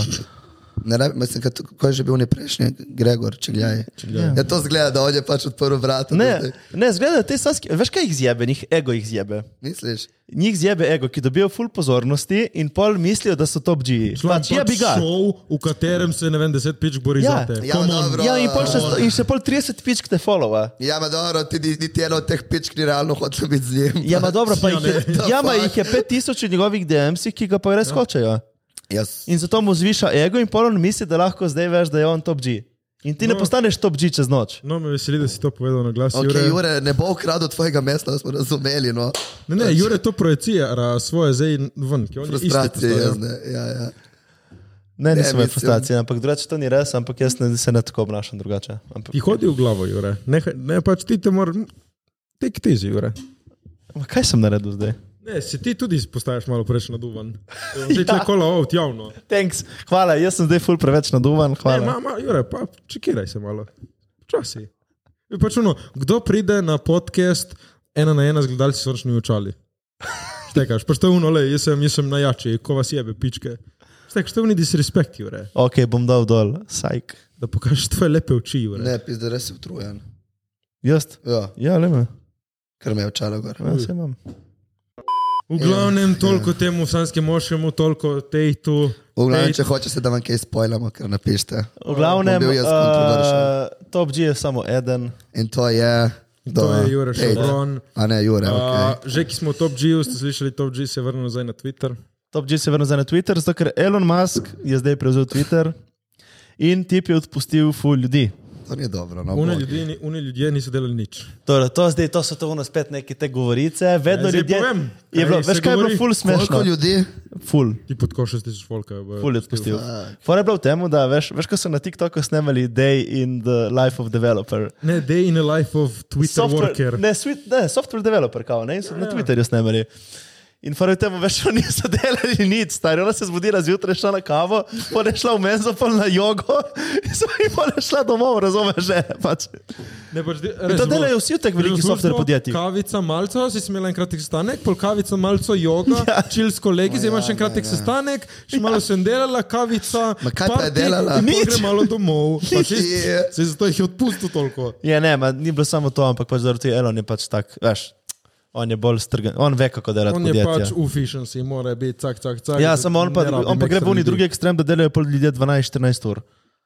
Ne, rabi- mislim, kot ko je že bil ne prejšnji, Gregor, če gledaj. Ja, to zgleda, da on je pač odprl vrata. da
Ne,
zdaj-
ne, zgleda, te saski, veš kaj jih zjebe, njih ego jih zjebe.
Misliš?
Njih zjebe ego, ki dobijo full pozornosti in pol mislijo, da so top G. Pač, ja, bi ga.
šov, v katerem se ne vem, deset pič bori
Ja.
za te.
Ja,
Come on.
dobro.
Ja, in pol še, sto- in še pol 30 pičk te followa.
Ja, ma dobro, ti ni- niti eno od teh pičk ni realno hotel biti z njim.
Ja, ma dobro, pa jih je,
ne.
ja, ma jih je 5000 v njegovih DM-sih, ki ga pa res hočejo.
Jaz,
In zato mu zviša ego, in polno misli, da lahko zdaj veš, da je on top G. In ti no. ne
No.
postaneš top G čez noč.
No, me veseli, da si to povedal na glas. Jure.
okay, Jure, ne bo ukradel tvojega mesta, da smo razumeli. No.
Ne, ne, Jure to projicira svoje zdaj ven. ki on je isti
Frustracije
postavljen.
jaz ne. Ja, ja.
Ne,
Ne,
nisem imel
mislim-
frustracije, ampak drugače to ni res, ampak jaz ne, se ne tako obnašam drugače. Ampak,
Ti hodi v glavo, Jure. Ne, ne pač ti te moraš, te k tezi, Jure.
Ma kaj sem naredil zdaj?
Ne, se ti tudi postaješ malo preveč naduvan. Zdaj ja. kola out javno.
Thanks, hvala, jaz sem zdaj ful preveč naduvan,
Ne,
hvala.
mama, Jure, pa čekiraj se malo. Časi. Pač ono, kdo pride na podcast ena na ena z gledalci sončni očali? Stekaš, pač to je uno, le, jaz sem, jaz sem najjači, ko vas jebe, pičke. Stekaš, to je uni disrespekt, Jure.
Ok, bom dal dol, sajk.
Da pokažeš tvoje lepe oči, Jure.
Ne, pizda, res si utrujen.
Jaz?
Ja,
Ja, le me,
ker me je očala gor.
ja, se imam.
V glavnem, toliko temu sanskem moškemu, toliko tej tu.
V glavnem,
tej-
če hočeš, da vam kaj spoilamo, ker napište.
V glavnem, eh,
Bom bil jaz kontroversialen.
uh, top G je samo eden.
In to je.
To je Jure
Tate.
Šobron.
A ne, Jure, okay.
Uh, že ki smo v Top G-ju, ste slišali, Top G se je vrnil nazaj na Twitter.
Top G se je vrnil za na Twitter, zato ker Elon Musk je zdaj prevzel Twitter in tip je odpustil ful ljudi.
to ni dobro. No,
Une
bog.
ljudje, ni- une ljudje niso delali nič.
Torej, to, zdaj, to so to ono spet neke te govorice, vedno
Ja, zdaj
ljudje.
povem,
je
kaj
bilo,
se
veš kaj je bilo
govori?
ful
Koliko
smešno?
ljudi?
Ful.
Ti pod košem ste že volka.
Ful je odpustil. Fora je bilo v tem, da veš, veš, ko so na TikToku snemali Day in the Life of Developer.
Ne, day in the life of Twitter worker.
ne, sweet, ne, software developer, kao, ne, in so ja, na
ja.
Twitterju snemali. In fora je v tem, veš, oni niso delali nič, stari, ona se je zbudila zjutraj, šla na kavo, pone šla v menzo, pol na jogo, in so jim pone šla domov, razumeš, že. Pač.
Ne, pač de,
In to delajo vsi v teh velikih software podjetjih.
Kavica, malce, si imel enkrat sestanek, pol kavica, malce joga, ja. čil s kolegi, zdaj imaš še enkrat sestanek, še
Ja.
malo sem delala, kavica.
Ma kaj pa je
party,
delala?
in pol
Nič.
Gre malo domov. Pač,
Je.
se zato jih je odpustil toliko.
Je, Ja, ne, ma, ni bilo samo to, ampak pač zaradi tega Elon je pač tak, veš, on je bolj strgan, on ve, kako delati
On je pač
podjetje.
v efficiency, mora biti cak, cak, cak.
Ja, samo on pa,
Ne rabim
on pa gre
ekstra
v oni
ljudi.
drugi ekstrem, da delajo pol ljudje 12-14 ur,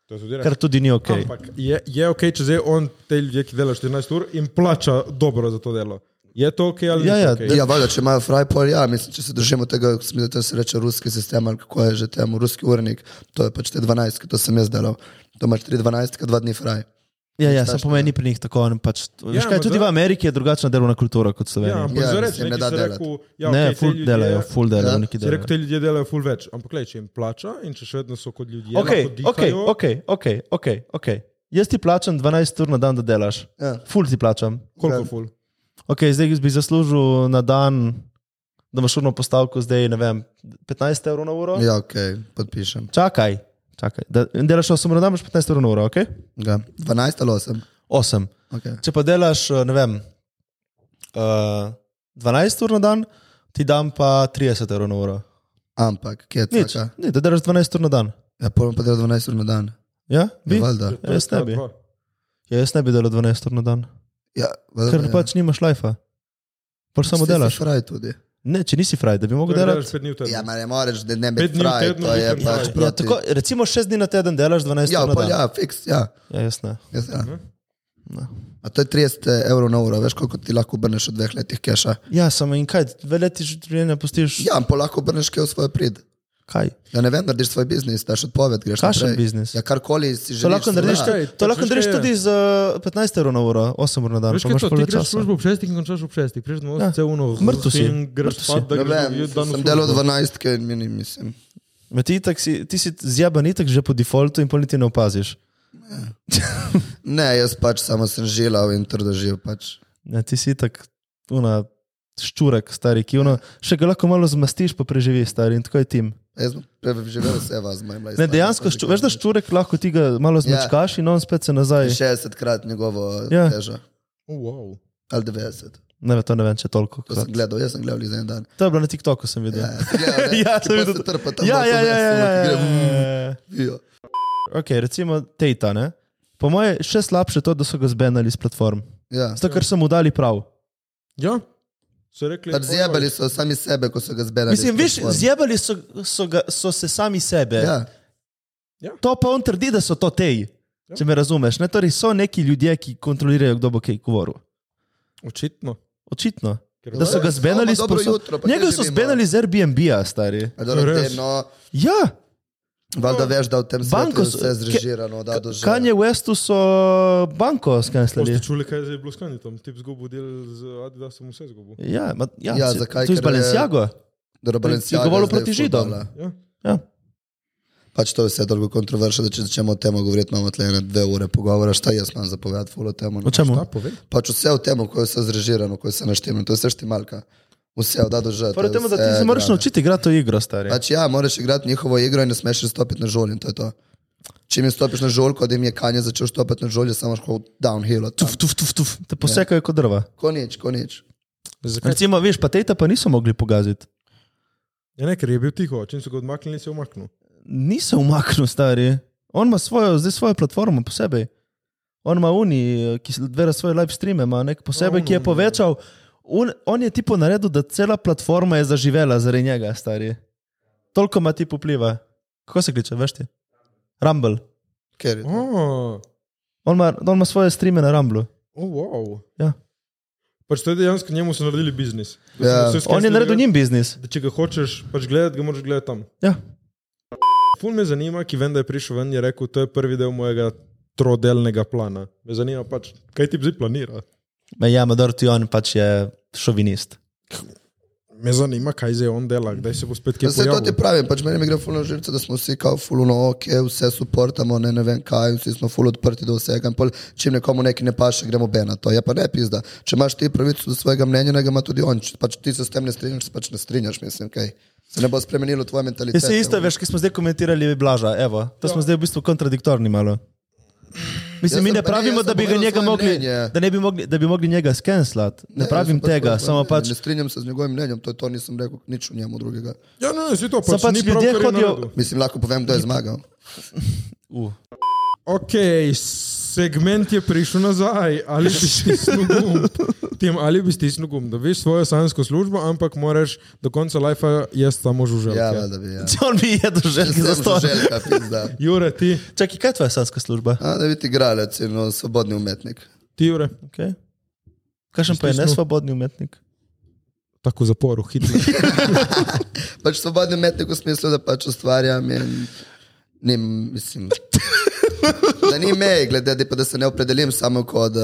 To je tudi res.
kar tudi ni ok.
Ampak je, je ok, če zdaj on te ljudi, ki dela 14 ur, jim plača dobro za to delo. Je to ok ali
Ja,
ni
ja,
ok?
da-
Ja, valjda, če imajo frajpor, ja, mislim, če se držimo tega, kako se mi da se reče ruski sistem ali kako je že temu, ruski urnik, to je pač te 12, to sem jaz delal. To imaš 3 12, 2 dni fraj.
Ja, ja samo pomeni pri njih tako. on Pač, ja, veš,
Ja,
kaj,
ampak
tudi
zdaj-
v Ameriki je drugačna delovna kultura kot v
ja,
Sloveniji.
ampak
Ja,
ja,
se
zares,
ne
ne
da
da
delati.
delati.
Ja,
Ja,
ne,
okay,
okay, full delajo, full delajo,
Ja.
neki
Si rekel,
delajo.
te ljudje delajo full več, ampak le, če jim plača in če še vedno so kot ljudje,
Ok,
lahko dihajo,
ok, ok, ok, ok, ok. Jaz ti plačam 12 ur na dan, da delaš.
Ja.
Full ti plačam.
koliko full?
Ja, Ok, zdaj bi zaslužil na dan, da imaš urno postavko, zdaj ne vem, 15 evrov na uro. Ja.
Ja, ok, podpišem.
Čakaj, čakaj. Da, delaš 8 ur na dan, imaš 15 evrov na uro, ok?
Ja. 12 ali 8.
8.
Okay.
Če pa delaš, eh, ne vem, uh, 12 ur na dan, ti dam pa 30 evrov na uro.
Ampak, kje je
Nič,
to?
ne, da delaš 12 ur na dan.
Ja, pojem pa delal 12 ur na dan.
Ja, bi?
Ja, valjda.
To je
Jaz ne
ta
bi.
dva.
Ja, jaz ne bi delal 12 ur na dan,
Ja, valjda,
ker
da
ja.
ja.
pač nimaš lajfa. Pa samo
Saj si
delaš.
Fraj tudi.
Ne, če nisi fraj, da bi
To
mogel
je delaš
delati.
pet minut.
Ja, ma ne moreš, da ne bi
Pet dni v
fraj,
tednu
to je
nisem
pač
fraj.
Ja,
proti.
tako, recimo 6 dni na teden delaš 12
Ja,
ur na
pa
dan.
ja, fiks, ja.
ja jaz ne.
Jaz, ja.
Ne.
A to je 30 evrov na uro, veš koliko ti lahko obrneš v dveh letih keša.
Ja, samo in kaj, veleti življenje postiš.
Ja, pa lahko obrneš kaj v svoj prid.
Kaj?
Ja, ne vem, narediš svoj biznis, daš odpoved, greš
Kakšen
naprej.
biznis?
Ja, karkoli si želiš.
To lahko narediš,
seveda.
tudi, to
Ja, pač
lahko
veš,
narediš
kaj je.
tudi z eh, 15 evrov na uro, 8 ur na dan. pa
Veš, kaj je
imaš
to,
pol
ti
več
greš v
časa.
službo ob šestih in končaš ob šestih, prejš domov,
Ja.
vse uno,
Mrtev si.
in greš
Mrtev si.
spat, da
Ne
greš
vem,
drugi dan v
sem
službo.
delal 12, ker mi ni, mislim.
Ma Ja, Ti, itak si, ti si zjaban itak že po defaultu in pol niti ne opaziš.
Ne, jaz pač samo sem želal in trdo živel. Pač.
Ja, ti si tak, una, ščurek, stari, ki uno, še ga lahko malo zmastiš, pa preživiš, stari, in tako je tim.
Jaz sem preživel vse vas, moj mlajši.
Ne, dejansko, šču, veš, da ščurek lahko ti ga malo
Ja.
zmečkaš in on spet se nazaj.
60 krat njegovo
Ja.
ja. težo,
Oh, wow.
ali 90.
Ne, vem, to ne vem, če toliko.
To sem gledal, jaz sem gledal za en dan.
To je bilo na TikToku, sem videl.
Ja, sem gledal, ne,
Ja,
ki
sem
pol
videl.
se trpa tam
Ja,
dol po
ja, ja, ja,
mestu,
ja,
ki
ja,
gre, mm,
ja.
vijo.
Ok, recimo Tejta, ne? Po moje je še slabše to, da so ga zbenali z platform.
Ja.
Zato, ker so mu dali prav.
Ja, so rekli.
Pač Zjebali so sami sebe, ko so ga zbedali.
Mislim, veš, zjebali so, so, ga, so se sami sebe.
Ja,
To pa on trdi, da so to teji.
Ja.
Če me razumeš, ne? torej so neki ljudje, ki kontrolirajo, kdo bo kaj govoril.
Očitno.
Očitno.
Ker
Da so ga zbenali s
Samo dobro
posod-
jutro, pa kje
Njega so
živimo?
zbenali z Airbnb-a, stari.
A dobro,
Res.
te, no,
Ja,
valjda veš, da v tem
Banko
svetu je
so-
vse zrežirano, da doživiš.
Kanje Westu so banko skenslali.
Ste čuli, kaj je zdaj bilo skanje tam? Tip zgubil del z Adidasom, vse zgubil.
Ja, ma, ja,
Ja,
se-
zakaj,
To je iz
ker je-
Balenciaga. Si govoril proti Židom.
Ja?
Ja.
Pač to je vse toliko kontroverzno, da če začnemo o tem govoriti, imamo tle ene dve ure pogovora, šta jaz imam zapovedati, fulo temu.
O čemu?
Ta pove.
no. Pač vse o tem, ko je vse zrežirano, ko je vse naštevno, to je vse štimalka. Vse od A do Ž. to
Prvo
je
temu, da
vse
ti se moraš
grane.
naučiti igrati to igro, stari.
E, Pač ja, moraš igrati njihovo igro in ne smeš stopiti na žolj in to je to. Čim jim stopiš na žolj, kot jim je kanje začel stopiti na žolj, samo šel downhill. od tam.
Tuf, tuf, tuf, tuf. Te posekajo kot drva.
Ko nič, ko nič.
Zakaj?
Recimo, veš, pa tejta pa niso mogli pogaziti.
Ja, ne, ker je bil tiho, čim so ga odmaknili, se je umaknil.
Nisem umaknil, stari. On ima svojo, zdaj svojo platformo posebej. On ima uni, ki dvera svoje live streame, ima nek posebej,
Ja,
ki je
ono,
povečal. On, on je tipo naredil, da cela platforma je zaživela zaradi njega, stari. Toliko ima ti popliva. Kako se kliče, veš ti? Rumble.
Ker je to.
Hm.
Oh,
On ima, on ima svoje streame na Rumblu.
oh, wow.
Ja.
Pač to je dejansko njemu so naredili biznis. Da
Ja.
so- so
On je
skenslali
naredil
ga,
njim biznis.
Da če ga hočeš pač gledati, ga moraš gledati tam.
Ja.
Ful me zanima, ki vem, da je prišel ven in je rekel, to je prvi del mojega trodelnega plana. Me zanima pač, kaj ti zdaj planira.
Ma Ja, Mador Tion pač je šovinist.
Me zanima, kaj zdaj on dela, kdaj se bo spet kaj
Vse to ti
pojavil.
pravim, pač meni gre fulno živce, da smo vsi kao fulno ok, vse suportamo, ne, ne vem kaj, vsi smo fulno odprti do vsega. in Pol, čim nekomu nekaj ne paše, gremo ben na to. Je pa ne pizda. Če imaš ti pravico do svojega mnenja, ne ga ima tudi on. Če pač ti se s tem ne strinjaš, se pač ne strinjaš, mislim, kaj. Se ne bo spremenilo tvoje mentalitete.
Jaz se isto, veš, ki smo zdaj komentirali Blaža, evo, to smo zdaj v bistvu kontradiktorni malo. Mislim,
Ja. Jaz
mi
sem
ne
pa ne,
pravimo,
jaz
da
sem
bi ga
povedal
njega
svoje
mogli,
mnenje.
da ne bi mogli, da bi mogli njega skenslati. Ne, ne pravim
jaz sem pač
tega,
povedal svoje
samo
mnenje,
pač,
Ne strinjam se z njegovim mnenjem, to je to, nisem rekel nič o njemu drugega.
Ja, ne, ne, vse to
Samo
pač,
pač
ni prav,
ljudje
kar je
hodijo-
naredil.
Mislim, lahko povem, kdo je zmagal.
uh,
Ok, segment je prišel nazaj, ali bi stisnil gumb. Tem, ali bi stisnil gumb, da veš svojo sanjsko službo, ampak moraš do konca lajfa jesti samo žuželke.
Ja, valjda bi. Ja.
on bi jedel želke za to.
Željka, pizda.
Jure, ti,
Čakaj, kaj je tvoja sanska služba?
A, da bi ti igralec in no, svobodni umetnik.
ti Jure,
Okay. Kakšen pa je
Stisnil.
nesvobodni umetnik?
tako v zaporu, hitro.
Pač svobodni umetnik v smislu, da pač ustvarjam in ne, mislim. Da ni meje, glede da, pa, da se ne opredelim samo kot uh,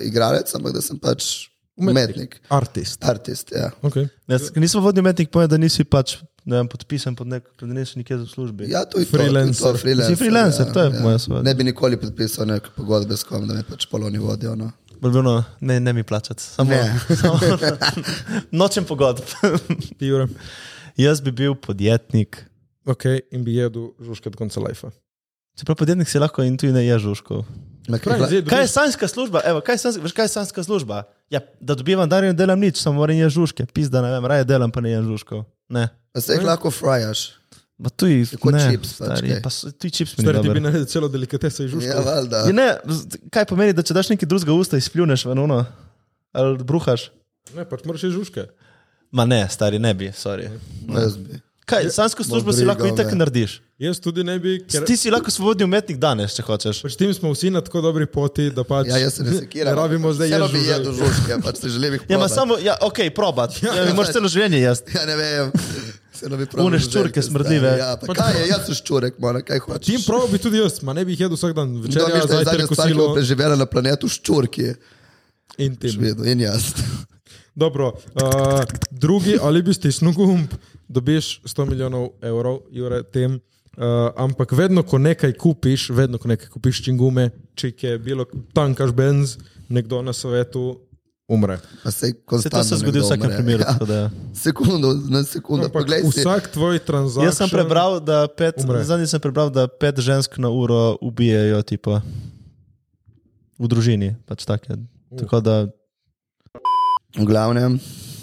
igralec, ampak da sem pač umetnik,
Artist.
artist. Ja.
Okay.
Ne, Nesvobodni umetnik pomeni, da nisi pač ne vem, podpisan pod nek, da nisi nikjer v službi.
Ja, to je to, to je
Freelancer.
To, freelancer, ja,
Si freelancer, to je moja svoboda.
Ne bi nikoli podpisal neke pogodbe s kom, da me pač poloni vodijo. No. Ja.
Borbeno, ne, ne mi plačati, samo,
Ne.
samo nočem pogodb.
Ti Jure,
Jaz bi bil podjetnik.
ok, in bi jedel žužke do konca lajfa.
Čeprav podjetnik si lahko in tudi ne je žužkov.
Na kaj
Pravi,
hla-
zdaj
Kaj je
dobiš-
sanska služba? Evo, kaj je sanska, veš, kaj je sanska služba? Ja, da dobivam dar in ne delam nič, samo moram je žužke. Pizda, ne vem, raje delam pa ne je žužkov. Ne.
Pa se jih lahko frajaš.
Ma tu je
Kot čips, pač,
stari,
kaj.
pa s- tu je čips mi
Stari, ti bi
ne.
naredil celo delikateso iz
Ja,
žužka.
valjda.
Je, ne, z- kaj pomeni, da če daš neki drugega usta, izpljuneš ven ono ali bruhaš?
Ne, pač moraš iz žužke.
Ma ne, stari, ne bi, sorry.
Jaz bi.
Kaj, sansko službo si
briga
lahko itak
me.
narediš.
Jaz tudi ne bi, Ja, ker
Ti si lahko svobodni umetnik danes, če hočeš.
pač tim smo vsi na tako dobri poti, da pač
Ja, jaz se ne sekiram.
Ne rabimo zdaj
Vseeno
jesti
bi jedel
žuželk.
žužke, pač se želim jih
Ja, ma
probati.
samo, ja, ok, probat. Ja, ja, moraš
pač.
celo življenje jaz.
Ja, ne vem. Vseeno bi probal
Une
žuželke,
ščurke
stari.
smrdljive.
Ja, pa kaj je, jaz sem ščurek, mora, kaj
Tim
hočeš.
prav bi tudi jaz, ma ne bi jih jedel vsak dan,
Kdo
večer, ja,
misli, da je zadnja
zajtrk,
stvar, ki bo
kosilo
preživela na planetu, ščurki?
in tim.
Vedno, in jaz.
Dobro, uh, drugi ali bi stisnil gumb, dobiš 100 milijonov evrov, jure tem. Uh, ampak vedno, ko nekaj kupiš, vedno, ko nekaj kupiš čingume, če je bilo tankaš benz, nekdo na svetu umre.
Pa se
Se to
konstantno.
se zgodi v
nekdo
vsakem
umre.
primeru.
Ja,
tako da-
Sekundo, na sekundo.
Ampak
Poglej si.
No, vsak tvoj transakcij.
Jaz sem prebral, da pet,
Umre.
zadnji sem prebral, da pet žensk na uro ubijajo tipo, v družini. Pač take. Tako da,
V glavnem.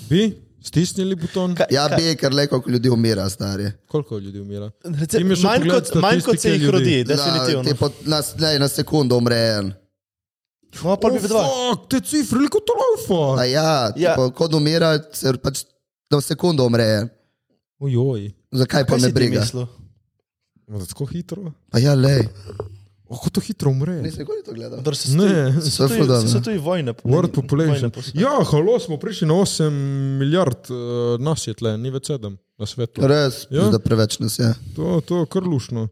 Bi stisnili buton,
Kaj-
Ja, bi, ker le koliko ljudi umira, stari.
koliko ljudi umira.
Rece,
Tim je šel
manj,
pogledat
kot, manj kot se
statistike
jih
ljudi.
rodi,
Na,
definitivno.
tipo, na, ne, na sekundo umre en.
No, pa bi dva.
Fak, Oh, te cifre, kot to laufa.
A ja,
Ja.
tipo, ko umira, se pač na sekundo umre en.
Ojoj,
Zakaj pa
Kaj
me
si ti
briga?
mislil?
Ma tako hitro.
Pa ja, le.
Kako to hitro umre?
Nisem nikoli to gledal.
Dobro, so se tudi-
Ne,
so se
to je
tudi-
dobro.
so se tudi vojne.
World
ne,
population.
vojne posebej.
Ja, halo, smo prišli na 8 milijard uh, nas je tle, ni več 7 na svetu.
Res,
Ja.
ja. da preveč nas je.
To, to je kar lušno.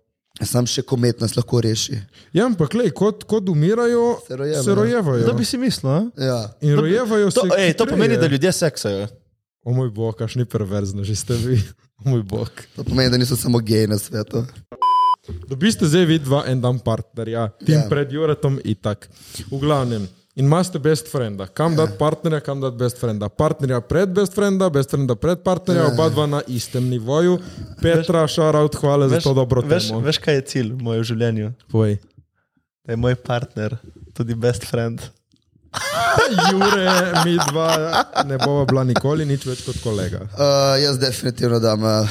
Sam še komet nas lahko reši.
Ja, ampak le, kot, kot umirajo,
Se rojevajo.
se rojevajo.
To bi si mislil, a?
Ja.
In rojevajo se.
To, ej, to
hitreje.
pomeni, da ljudje seksajo.
O moj bog, kašni perverzno že ste vi. O moj bog.
To pomeni, da niso samo geji na svetu.
Dobiste zdaj vi dva en dan partnerja, tim yeah.
Ja.
pred Juretom in tak. V glavnem. In imate best frenda. Kam yeah. dati partnerja, kam dati best frenda. Partnerja pred best frenda, best frenda pred partnerja, yeah. oba dva na istem nivoju. Petra, šaraut, hvala za to dobro
veš,
temo.
veš, kaj je cilj v mojem življenju?
Povej.
Da je moj partner tudi best friend.
Jure, mi dva ne bova bila nikoli nič več kot kolega.
Uh, jaz definitivno dam uh,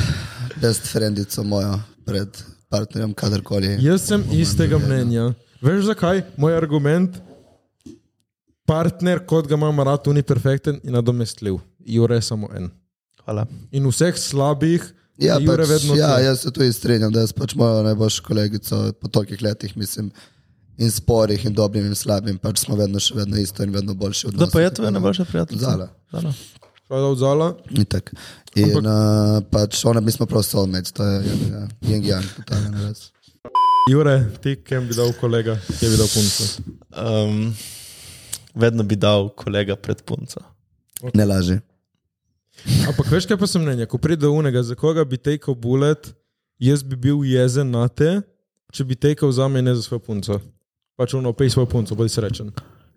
best friendico mojo pred partnerjem, kadarkoli.
Jaz sem istega mnenja. Veš zakaj? Moj argument, partner, kot ga imam rad, tu ni perfekten in nadomestljiv. Jure je samo en.
Hvala.
In vseh slabih,
Ja,
Jure
pač,
vedno
ja,
tu.
jaz se tudi strinjam, da jaz pač mojo najboljšo kolegico po tolikih letih, mislim, in sporih, in dobrim, in slabim, pač smo vedno še vedno isto in vedno boljši od
Kdo pa je tvoja najboljša prijateljica?
Zala.
Zala.
Škoda odzala.
Itak. In uh, pač ona, mi smo prav soulmates, to je jeng-jang, totalno res.
Jure, ti, kem bi dal kolega, kem bi dal punco.
Um, vedno bi dal kolega pred punco.
Ne laži.
Ampak veš, kaj pa sem mnenja? Ko pride do unega, za koga bi tekel bulet, jaz bi bil jezen na te, če bi tekel za me, ne za svojo punco. Pač ono, pej svojo punco, bodi srečen.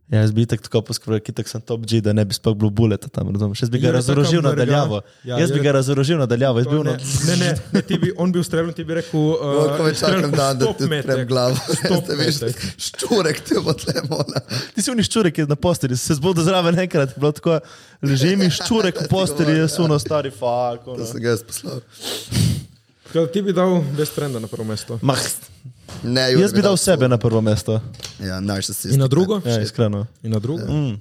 Ja, jaz bi tako tako poskrbel, ki tako sem top G, da ne bi spal bil buleta tam, razumeš? Jaz bi ga
Jure,
razorožil
taka
na daljavo.
mrga. Ja,
Jaz bi
Jure-
ga razorožil na daljavo. Jaz bi bil
Ne,
na...
ne, ne, ne ti bi, on bi ustrelil, ti bi rekel, uh,
Kako me No, čakam dan, da ti odprem glavo.
Stop
Ste veš,
metek.
ščurek te bo tle mola.
Ti si uniščurek na postelji, se zbudil zraven enkrat, bilo tako, ležim in ščurek v postelji, jaz
ja.
uno stari fak. ono.
To sem ga jaz poslal.
Ti bi dal best trenda na prvo mesto.
Mah,
Ne, Jure,
jaz bi dal sebe na prvo mesto,
Ja, narcisist.
In na drugo?
ja, iskreno.
In na drugo?
Mm.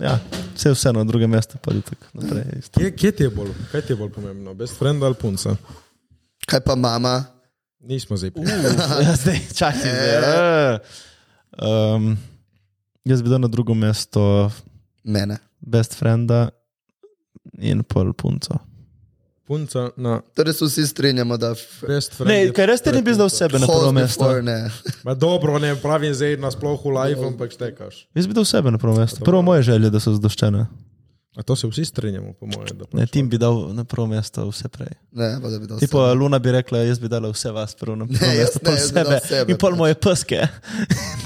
Ja, vse je vseeno, druge mesto pa je tako naprej. isto.
Kje, kje ti je bolj? Kaj ti je bolj pomembno? Best friend ali punca?
Kaj pa mama?
Nismo zdaj. pri-
Ja, zdaj čakaj. zdaj, eh. Um, jaz bi dal na drugo mesto
Mene.
best frenda in pol punco.
Punca na
Torej se vsi strinjamo, da... f-
best friend.
Ne,
je
kaj res te ne bi
pred
zdal
punco.
sebe na prvo
Hold
mesto?
before, ne.
Ma dobro, ne pravim zdaj nasploh v
No.
live, ampak štekaš.
Jaz bi dal sebe na prvo mesto. Prvo moje želje, da so zdoščene.
A to se vsi strinjamo, po mojem. da
Ne,
pač-
tim bi dal na prvo mesto vse prej.
Ne, pa da bi dal
Tipo,
sebe.
Luna bi rekla, jaz bi dala vse vas prvo na prvo
Ne, jaz
mesto,
ne,
pol
jaz bi dal
sebe
sebe,
in pol
pač.
moje peske.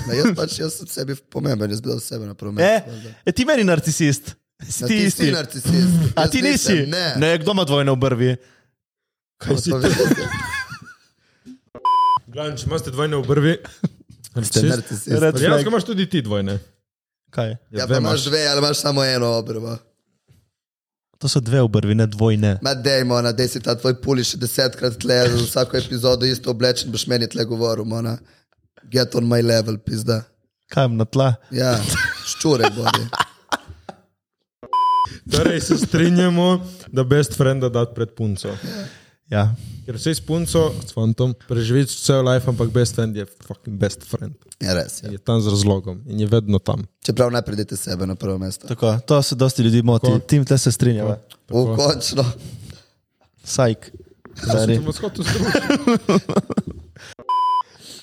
Ne, jaz pač jaz sem sebi pomemben, jaz bi dal sebe na
E,
prvo mesto. valjda.
e, ti meni narcisist. Si
Ja,
ti
Ti si
isti.
narcisist.
A
Jaz
ti
nisem,
nisi?
Ne.
ne, kdo ima dvojne obrvi?
Kaj
To
si
pa
ti?
veš,
Glavno, če imaš dvojne obrvi.
Ste narcisist.
Red-
Dejansko imaš tudi ti dvojne.
Kaj?
Ja, pa imaš dve ali imaš samo eno obrvo.
To so dve obrvi, ne dvojne.
Ma dejmo, na desi ta tvoj puli še desetkrat tle, za vsako epizodo isto oblečen, boš meni tle govoril, ona. Get on my level, pizda.
Kam na tla?
Ja, ščurek bodi.
Torej se strinjamo, da best frienda dati pred punco.
Ja.
Ker vsi s punco, s fantom, preživiš vse life, ampak best friend je fucking best friend.
Ja, res je.
Je tam z razlogom in je vedno tam.
Čeprav najprej dajte sebe na prvo mesto.
Tako, to se dosti ljudi moti,
Tako.
tim te se strinjava.
V končno.
Sajk. Stari.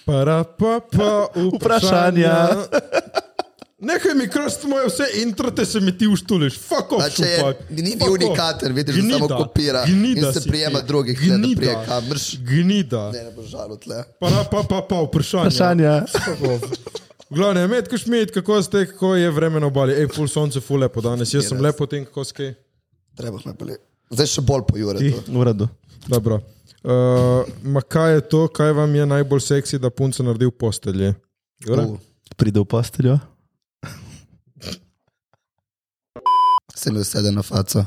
Para, pa, pa,
Vprašanja.
vprašanja. Nekaj mi krst moje vse intro, te se mi ti uštuliš. Fuck off,
A če je,
šupak.
ni, ni
Fuck off.
unikaten, vidiš, da samo kopira
Gnida
in se
si
prijema
ti.
drugih, ne, da
Gnida.
prije kamrš.
Gnida.
Ne, ne boš žalil tle.
Para, pa, pa, pa, vprašanja.
Vprašanja.
Glavne, Medko Šmit, kako ste, kako je vreme na obali? Ej, full sonce, full lepo danes. Jaz sem lepo tem, kako skaj.
Treba me boli. Zdaj še bolj pojure.
V redu.
Dobro. Uh, ma kaj je to, kaj vam je najbolj seksi, da punce naredi v postelji? Jure?
Oh, Pride v posteljo.
Se mi usede na faco.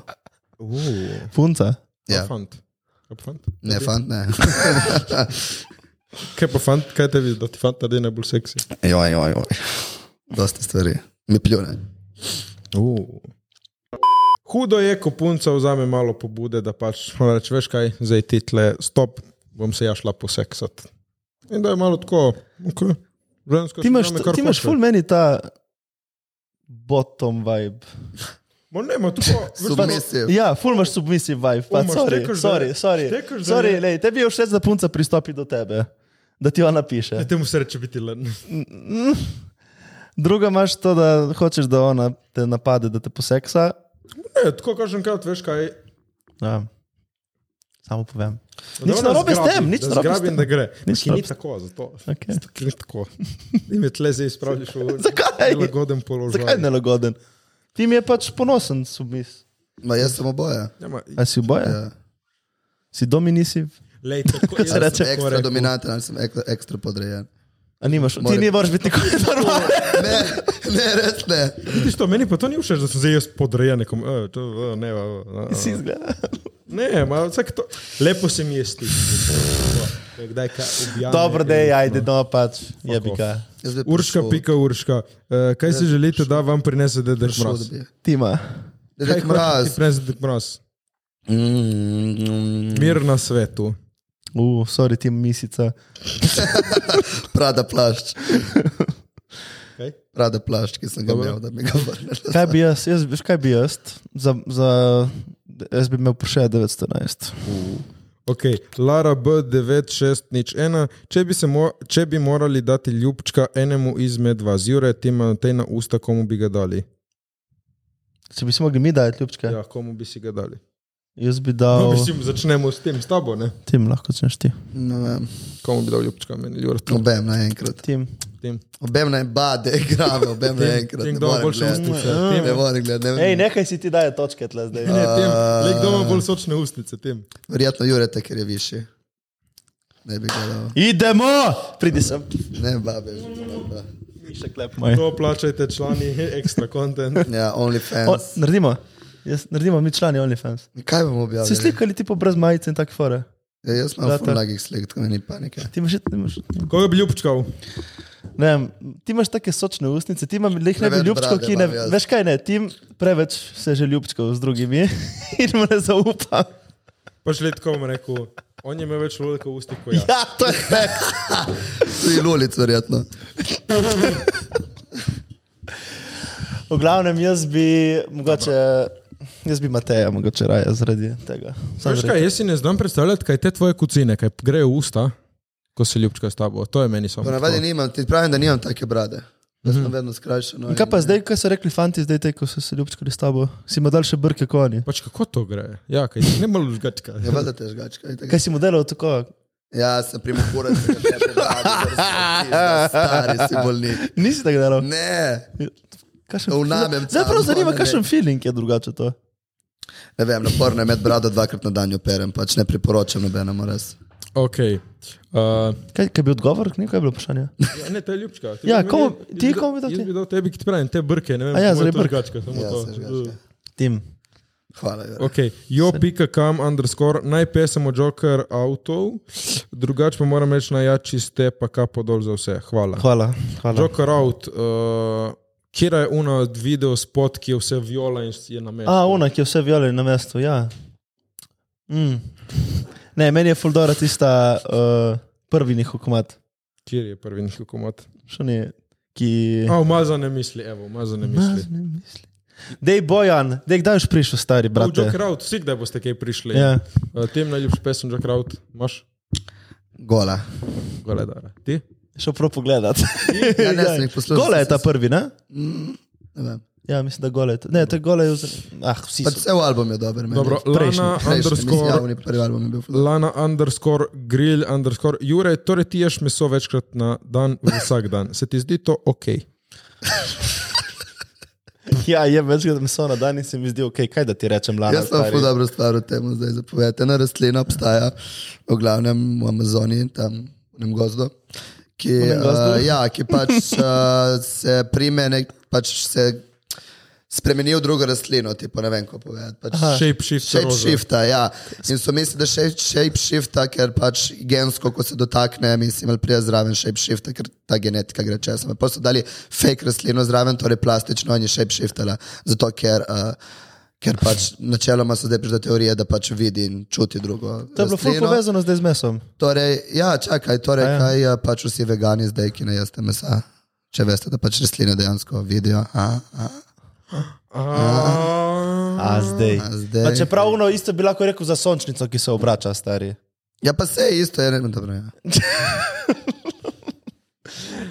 oh.
Uh,
Punca.
Ja.
Fant. Kaj pa fant?
Ne, fant, ne.
Kaj pa fant, kaj te vidi, da ti fant naredi najbolj seksi?
Joj, joj, joj. Dosta stvari. Mi pljune.
Oh.
Uh. Hudo je, ko punca vzame malo pobude, da pač ona reče, veš kaj, zdaj ti tle, stop, bom se ja šla poseksat. In da je malo tako, okay. Vrensko
Ti imaš, ti imaš ful meni ta bottom vibe.
Ma ne, ma tako. veš,
Submis-
ono-
Submisiv.
Ja, ful imaš submisiv vibe, pa
Ful imaš,
sorry,
štekaš, da
sorry,
ne-
sorry.
štekaš, da
sorry
ne-
lej, tebi je všeč, da punca pristopi do tebe, da ti ona piše.
Ja, Temu se reče biti len.
Druga imaš to, da hočeš, da ona te napade, da te poseksa.
Ne, tako kažem, kot veš kaj.
Ja. Samo povem.
Da
Nič
ona
narobe s
zgrabi,
tem, nič
da
narobe s
Zgrabim,
tem.
da gre.
Nič
Ki ni
narobe s-
tako, zato.
Okay.
Ni tako. In me tle zdaj spravljaš v
Zakaj?
nelagoden položaj.
Zakaj je nelagoden? Ti mi je pač ponosen, submis.
Ma jaz sem oboje.
Ja, ma,
A si oboje?
Ja.
Si dominisiv?
lej, tako,
Kot se
jaz
reče.
sem tako
Ekstra
rekel.
dominanten, ali sem ekstra, ekstra podrejen.
A nimaš, ti
More-
ne moreš biti nikoli normalen.
Ne, ne, res ne.
Vidiš to, meni pa to ni všeč, da sem zdaj jaz podrejen nekomu. E, to, e, ne, e, e,
Si izgleda.
ne, ma, vsak to. Lepo se mi je stisnil. Kdaj kaj objavim?
Dobro, da je, ajde, no pač, jebika.
Jaz bi
Urška,
prišel-
pika Urška. E, kaj si želite, da vam prinese dedek
prišel, da
mraz?
bi.
Tima.
Kaj
Dedek
hočeš ti
mraz.
prinese dedek mraz?
Mm,
Mir na svetu.
Uf, sorry, tim misica.
Prada plašč.
Kaj?
Prada plašč, ki sem ga
Dobro.
imel, da mi ga vrneš.
Kaj bi jaz, jaz veš, kaj bi jaz? Za, za, jaz bi imel pošilja 911.
Okay. Lara B9601, če, bi se mo- če bi morali dati ljubčka enemu izmed vas, Jure, ti imate na usta, komu bi ga dali?
Če bi si mogli mi dati ljubčke, ja.
Ja, komu bi si ga dali?
jaz bi
No,
dal.
mislim, začnemo s tem, s tabo, ne?
Tim lahko začneš ti.
Ne vem.
Komu bi dal ljubčka, meni, Jure, tu
No, ja. Obem naenkrat.
Tim.
tem.
Obem naj bade, igrame, obem naenkrat.
Tem,
Ne
kdo ima
morem
boljše
gledati.
ustnice.
Mm.
ja, Tem,
Ne morem gledati. ne
Ej,
vem.
nekaj si ti daje točke tle zdaj.
ne, tem. Le kdo ima bolj sočne ustnice, tem.
Verjetno Jureta, ker je višji. Ne bi gledal.
Idemo! Pridi sem.
Ne, babe. že dobro.
Še klep moj.
To plačajte člani, ekstra kontent.
Ja,
O,
OnlyFans.
naredimo. Jaz, naredimo mi člani OnlyFans.
Kaj bomo
Si
objavili?
slikali tipo brez majice in tako fore.
Ja, jaz imam
Brata.
ful nagih slik, tako da ni panike.
Ti imaš, ti imaš,
Koga bi ljubčkal?
ne vem, ti imaš take sočne ustnice, ti imaš lehne
Preveč
ljubčko,
brade
ki ne,
imam jaz.
veš kaj ne, ti preveč se že ljubčkal z drugimi in mu ne zaupam.
Pač let, komu rekel, on je imel več lulek v ustih kot jaz.
Ja, to je fakt.
Tudi lulic, verjetno.
V glavnem, jaz bi mogoče, jaz bi Mateja mogoče raje zaradi tega. Samo
Veš
zaradi-
kaj, jaz si ne znam predstavljati, kaj te tvoje kucine, kaj grejo v usta, ko se ljubčka s tabo. To je meni samo.
Ponavadi
tako.
nimam, ti pravim, da nimam take brade. Da sem vedno skrajšan. no,
In Kaj pa zdaj, kaj so rekli fanti, zdaj te, ko so se ljubčkali s tabo, si mu dal še brke konji.
Pač kako to gre? Ja, kaj ne malo žgačka.
Je
Ja,
vedno Ja, težgačka. itak.
Kaj si mu delal tako?
Ja, sem primokuren, da se ne prebrada, stari si bolnik.
Nisi tako delal.
Ne,
Kakšen-
Vnamem
Zdaj prav
tam,
zanima,
ne
kakšen feeling je drugače to.
ne vem, naporno je med brado dvakrat na dan jo perem, pač ne priporočam nobenemu res.
Ok. Uh,
Kaj, kaj bi odgovor, ni kaj je bilo vprašanje?
ja, ne, to je ljubčka.
Ja, komu- ti komu bi dal ti?
Ti bi dal tebi, ki ti pravim, te brke, ne vem.
A ja,
komu je
zaradi
to
brk.
Žgačka, samo
Ja,
to. Uh,
se žgačka.
Tim.
Hvala. Jure.
Ok, jo.com underscore, najprej samo Joker avtov, drugače pa moram reči najjači ste, pa kapo dol za vse. Hvala.
Hvala. hvala.
Joker out, uh, kjer je uno video spot, ki je vse viola in je na mestu.
A, ona, ki je vse vijole na mestu, ja. Mm. Ne, meni je fuldora tista uh, prvi njihov komat.
Kjer je prvi njihov komod?
Še ni, ki...
A, umazane misli, evo, umazane misli.
Mazne misli. Dej Bojan, dej kdaj boš prišel, stari
Prav,
brat.
Joker out, vsi kdaj boste kaj prišli.
Ja.
Uh, tem najljubši pesem Joker out, imaš?
Gola.
Gole, da. Ti?
Šel prav pogledat.
Ja, ne, sem jih poslušal.
Gola je ta prvi, ne?
Ne vem.
Ja, mislim, da gole je. ta- Ne, to je gole. Je vz... Ah, vsi
Pač
so.
vse v album je dober. meni.
Dobro,
Prejšnji,
Lana
Prejšnji, mislim, ja,
underscore,
oni prvi album je bil. ful-
Lana underscore grill underscore Jure, torej ti ješ meso večkrat na dan, vsak dan. Se ti zdi to ok?
Ja, je večkrat meso na dan in se mi zdi, ok, kaj da ti rečem, lana.
Jaz sem
stari?
pa dobro stvar o tem, zdaj zapovedate. Ena rastlina obstaja v glavnem v Amazoniji, tam v nem gozdu, ki,
nem gozdu?
uh, ja, ki pač uh, se prime, nek, pač se spremeni v drugo rastlino, ti pa ne vem, kako povedati. Pač
Shape shift.
Shape shifta, ja. In so mislili, da shape, shape shifta, ker pač gensko, ko se dotakne, mislim, ali prije zraven shape shifta, ker ta genetika gre čez. Pa so dali fake rastlino zraven, torej plastično in je shape shiftala. Zato, ker uh, Ker pač načeloma so zdaj prišle teorije, da pač vidi in čuti drugo.
To je bilo fully
rastlino.
povezano zdaj z mesom.
Torej, ja, čakaj, torej,
A ja.
ja. kaj eh, pač vsi vegani zdaj, ki ne jeste mesa? Če veste, da pač rastline dejansko vidijo. A, a,
A zdaj.
a
Pa
zdaj.
čeprav ono isto bi lahko rekel za sončnico, ki se obrača, stari.
Ja, pa se je isto, je ne vem, dobro. Ja.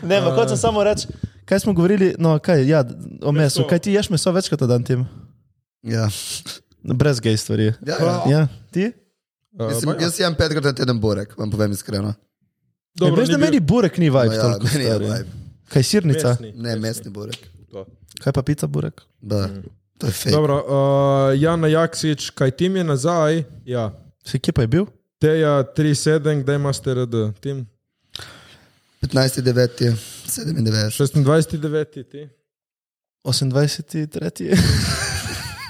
Ne, ampak hočem samo reči, kaj smo govorili, no kaj, ja, o mesu.
Meso.
Kaj ti ješ meso večkrat na dan tim?
Ja.
Brez gej stvari.
Ja, ja.
Ja, ti?
Eh,
Mislim, jaz jem petkrat na teden burek, vam povem iskreno.
Dobro, veš, da meni burek ni vibe.
Ja,
toliko,
meni je
stari.
vibe.
Kaj sirnica?
Ne, mesni burek.
Kaj pa pica burek?
Da, to je fake.
Dobro, uh, Jana Jaksič, kaj tim je nazaj? Ja.
Si kje pa je bil?
Teja 3-7, kdaj imaš TRD? Tim
15.9. 97.
26-9, ti.
28.3.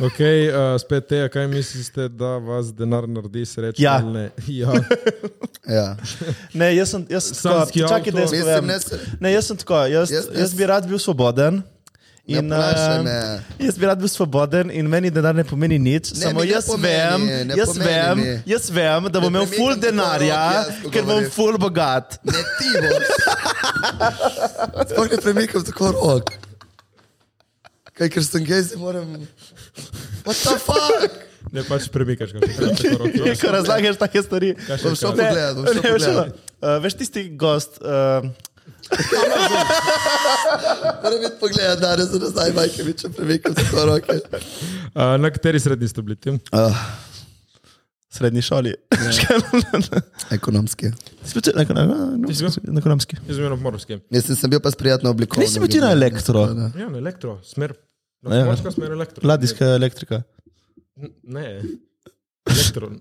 Ok, uh, spet Teja, kaj mislite, da vas denar naredi srečo?
Ja.
ali Ne? Ja.
Ja.
Ne, jaz sem, jaz sem tako,
Sanjski
čakaj,
avto.
da jaz povem.
Mislim, ne se.
Ne, jaz sem tako, jaz, jaz,
Jaz-
jaz bi rad bil svoboden.
Ne
In,
vprašaj
eh,
me.
jaz bi rad bil svoboden in meni denar ne pomeni nič, ne, samo
mi ne
jaz,
pomeni,
vem,
ne
jaz,
pomeni
vem,
mi.
jaz vem, da bom
Ne
imel
premikam
ful
ti to
denarja,
rok, jaz, ko
ker bom
govoriš.
ful bogat.
Ne ti boš. Sploh ne premikam tako rok. Kaj, ker sem gej, se moram. What the fuck?
Ne pač premikaš, kaj ti
Ja, Ko razlagaš take stvari.
Bom šel
Ne,
pogledat, bom šel
ne, veš,
pogledat.
ono, eh, Veš tisti gost, eh,
Moram iti pogledat danes, da zdaj Majkovič, če premikam tako roke.
Uh, na kateri srednji ste bili? Tim?
Uh,
v srednji šoli.
ekonomski.
Si bil ti na- na- na- na ekonomski.
Jaz sem bil na pomorskem.
Jaz sem- sem bil pa sprijatno oblikovan.
Nisi bil ti na
Ljubljani.
elektro?
Da, da.
Ja, na elektro, smer.
Ja.
Na pomorska smer elektro.
Ladijska elektrika.
N- Ne, elektro.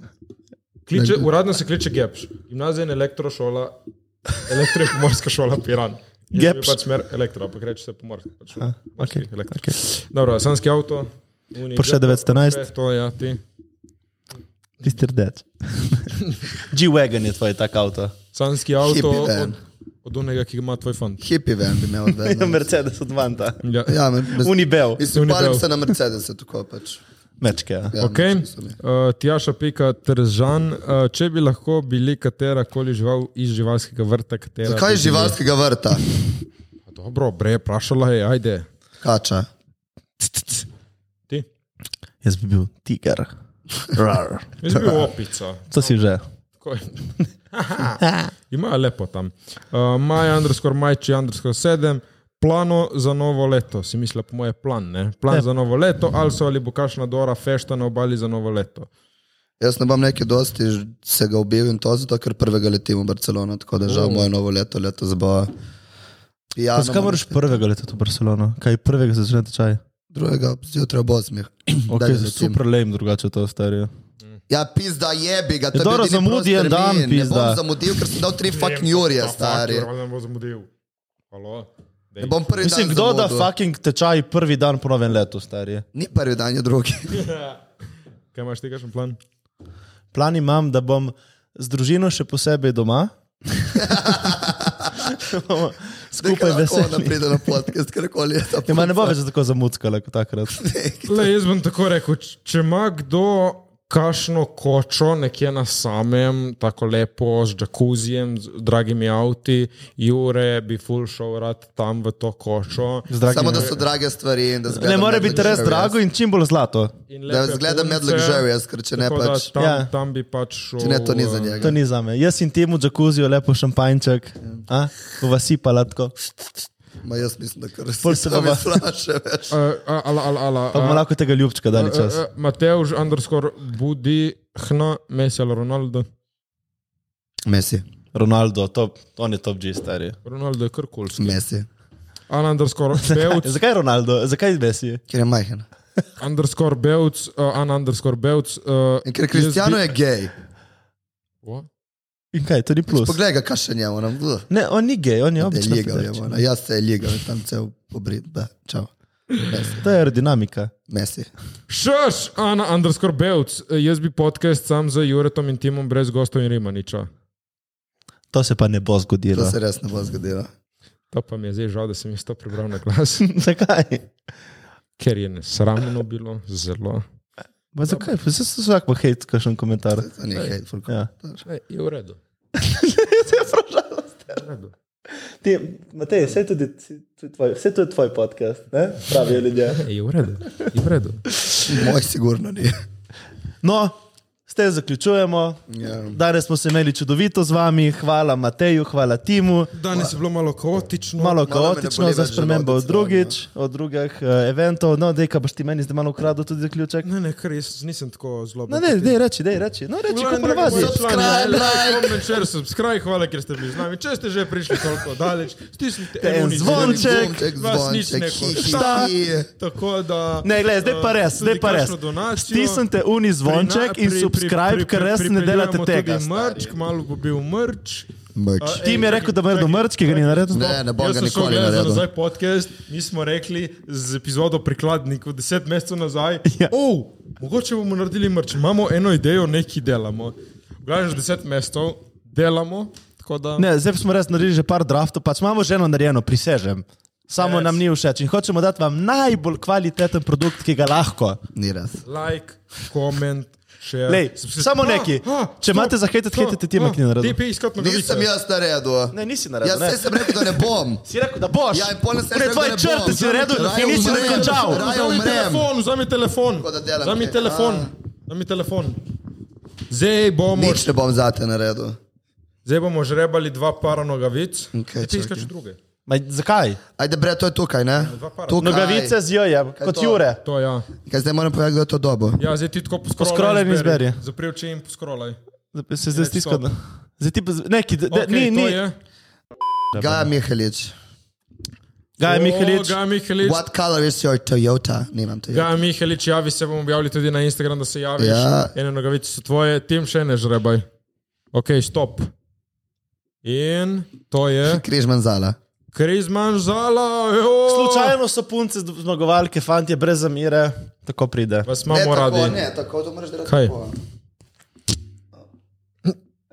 Kliče, uradno se kliče GEPŠ. Gimnazija in elektrošola, elektro in pomorska šola Piran. Jaz sem bil
Gepš.
Pač smer elektro, ampak reče se pomorska. Pač
A,
pomorski
okej,
elektro.
okej.
Dobro, sanski avto. Uni,
Porsche
Jetta,
911.
Porsche, To ja, ti.
Tisti rdeč. G-Wagon je tvoj tak avto.
Sanski avto
Hippie
od,
van.
od onega, ki ga ima tvoj fant.
Hippie ven bi imel. da,
Ja,
no.
Mercedes od Vanta.
Ja.
Ja, me- me-
Unibel.
Mislim,
Unibel.
parim se na Mercedesu, tako pač.
Mečke. ja.
Ja,
Okay.
mogoče so mi.
Uh, Tjaša pika Trzan, uh, če bi lahko bili katera koli žival iz živalskega vrta, katera. bi
Zakaj je
bila-
živalskega vrta?
Dobro, bre, vprašala je, ajde.
Kača.
Ti?
Jaz bi bil tiger. Rar.
Jaz bi bil opica.
To si že.
Ko- Imajo lepo tam. Uh, Maja, underscore majči, underscore sedem. Plano za novo leto, si misli, po moje plan, ne? Plan
Ne.
ne. za novo leto, ali so ali bo kakšna Dora fešta na obali za novo leto.
Jaz ne bom nekaj dosti, ž- se ga ubil in to zato, ker prvega letim v Barcelono, tako da žal moje novo leto, leto zabava. Ja,
Zakaj moraš prvega leta v Barcelono? Kaj prvega se začne tečaj?
drugega zjutraj ob osmih.
Okay,
Daj, da
super lame drugače to stari.
Ja, pizda je, bi ga tam
dobro, zamudi en dan,
Ne
pizda.
bom zamudil, ker sem dal tri fucking urje, stari.
Ne bom zamudil. Halo?
Ne bom prvi
Mislim,
dan
kdo da
zamudil.
fucking tečaj prvi dan po novem letu, stari.
Ni prvi dan, je drugi.
Kaj imaš ti, kakšen plan?
Plan imam, da bom z družino še posebej doma. Bomo Skupaj
Da
veseli.
pride na podcast, karkoli je to.
Ja, ma ne bo več tako zamuckala kot takrat.
Le, jaz bom tako rekel, č- če ima kdo kašno kočo nekje na samem, tako lepo z džakuzijem, z dragimi avti, Jure bi full šel rad tam v to kočo.
Z dragimi-
Samo da so drage stvari. in Da
Ne
zgledam
more
med
biti res
luxurious.
drago in čim bolj zlato.
in
Da
lepe
zgleda med
punce,
luxurious, ker če ne
tako da
pač.
Tam,
Ja.
ja. tam bi pač šel.
Če ne, to ni za
To
eh,
njega.
ni za me. Jaz in temu džakuziju lepo šampanjček, a? bova sipala tako.
Ma jaz mislim, da kar
Pol se
da
bova-
me slaše več.
eh, Ala, ala, ala.
Pa bomo
eh,
lahko tega ljubčka dali
eh,
čas.
eh, Mateuš, underscore, budi, hna, mesel, Ronaldo.
Messi,
Ronaldo, top, on je top G stari.
Ronaldo je kar kul.
Messi,
Ana, underscore, pevc.
E, Zakaj Ronaldo? Zakaj Messi?
ker je majhen.
underscore Belc, uh, an underscore Belc. Uh,
In ker Kristijano je gej.
What?
In kaj, to ni plus.
Poglej ga, kaj še njemu. nam, ugh.
Ne, on ni gej, on je
Da je
običajno.
ligal, je ono. Jaz se je ligal, tam cel pobrit. Da, čau. Messi.
To je aerodinamika.
Messi.
Šš, Ana, underscore Belc, uh, jaz bi podcast sam z Juretom in Timom brez gostov in Rimaniča.
To se pa ne bo
To
zgodilo.
se res ne bo zgodilo.
To pa mi je zdaj žal, da sem jaz to prebral na glas,
Zakaj?
ker je nesramno bilo, zelo.
Ma zakaj? Pa Saj se vsak ima hate, kakšen komentar.
To ni hateful.
Ja.
Ej, Je v redu.
Se je vprašala. Ti, Matej, vse, tudi, tudi tvoj, vse to je tvoj podcast, ne? pravijo ljudje.
Ej, Je v redu. Je v redu.
Moj sigurno ni.
No, s tem zaključujemo.
Ja.
Danes smo se imeli čudovito z vami, hvala Mateju, hvala Timu.
Danes je bilo malo kaotično.
Malo
me ne boli
kaotično
več
za
želodec,
spremembo od
no.
drugič, od drugih uh, eventov. No, dej, kaj boš ti meni zdaj malo ukradel tudi zaključek.
No,
Ne, ne, ker jaz nisem tako zloben.
No, ne, dej, reči, dej, reči. No, reči, kako ponavadi.
ja,
Subscribe, like.
Subscribe, subscribe, hvala, ker ste bili z nami. Če ste že prišli toliko daleč, stisnite
En
en
zvonček,
vas nič ne
zvonček,
košta. Tako da...
Ne, gled, zdaj pa
eh,
res, zdaj
tudi
pa res.
kakšno donacijo.
Stisnite uni zvonček in subscribe, ker res ne delate tega.
Mrč, kmalo bo bil mrč.
Mrč.
Eh,
Tim je rekel, da bo naredil mrč, ki ga ni naredil.
Ne, ne bom
Jaz
ga
sem šel
nikoli
gledati
naredil.
nazaj podcast, mi smo rekli z epizodo Prikladnikov 10 mesecev nazaj,
Ja.
ja. oh, mogoče bomo naredili mrč, imamo eno idejo, nekaj delamo. Gledaj, že 10 mesecev delamo, tako da
Ne, zdaj smo res naredili že par draftov, pač imamo že eno narejeno, prisežem. Samo yes.
Res.
nam ni všeč in hočemo dati vam najbolj kvaliteten produkt, ki ga lahko.
Ni res.
like, comment, share.
Lej,
subscribe.
samo
Ah,
neki.
ah,
Če
stop,
imate za hejtet,
stop,
hejtite Tima,
ah,
ki ni naredil.
TP iskati nogavice.
Nisem jaz naredil.
Ne, nisi
Jaz
naredil. ne.
vse sem rekel, da ne bom.
Si rekel, da boš.
Ja, in pol sem
Ne,
rekel,
tvoje
da ne
črte
bom.
si naredil
Raje
in nisi
umrem.
dokončal.
Raje
Vzemi
umrem.
telefon, vzemi telefon.
Tako da delam
Vzemi
kaj.
telefon.
Ah.
Vzemi telefon. Zdaj bomo
Nič ne bom zate naredil.
Zdaj bomo žrebali dva para nogavic.
Okej,
Okay, ti iskaš
čakaj.
druge.
Ma, zakaj?
Ajde, bre, to je tukaj, ne?
dva para.
Tukaj.
Nogavice z jojem, kot
to?
Jure.
To ja.
Kaj zdaj moram povedati, kdo je to dobo?
Ja, zdaj ti tako poskrolaj.
Poskrolaj in izberi.
Zapri oči in poskrolaj.
Zdaj Se zdaj
Reč
stiska.
stop.
Zdaj ti pa z- neki, de,
Okay,
okay, ni, ni.
Gaja Mihalič.
Gaj Mihelič.
Ga Mihelič.
What color is your Toyota? Nimam Toyota.
Ga Mihelič, javi se bomo objavili tudi na Instagram, da se javiš.
Ja.
Ene nogavice so tvoje, tim še ne žrebaj. Ok, stop. In to je
Križman Zala.
Krizman Žala. jo!
Slučajno so punce z- zmagovalke, fantje brez zamire, tako pride.
Vas imamo radi.
ne, E, tako to moraš delati.
Kaj?
tako.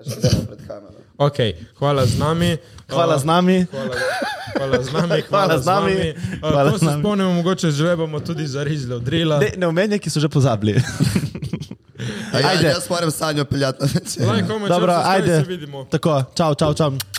Že delam pred kamero.
Ok, hvala z nami.
Hvala
Uh,
z nami.
Hvala, hvala z nami, hvala,
Hvala z
z nami.
nami,
Uh,
hvala
to
z
se
nami.
spomnimo, mogoče žrebamo tudi za rizle od drila.
Ne, ne omenjaj, ki so že pozabili.
A Ja,
Ajde.
jaz moram sanjo peljati na večer.
Lajko,
Dobro,
če se
ajde.
vidimo.
Tako, čau, čau, čau.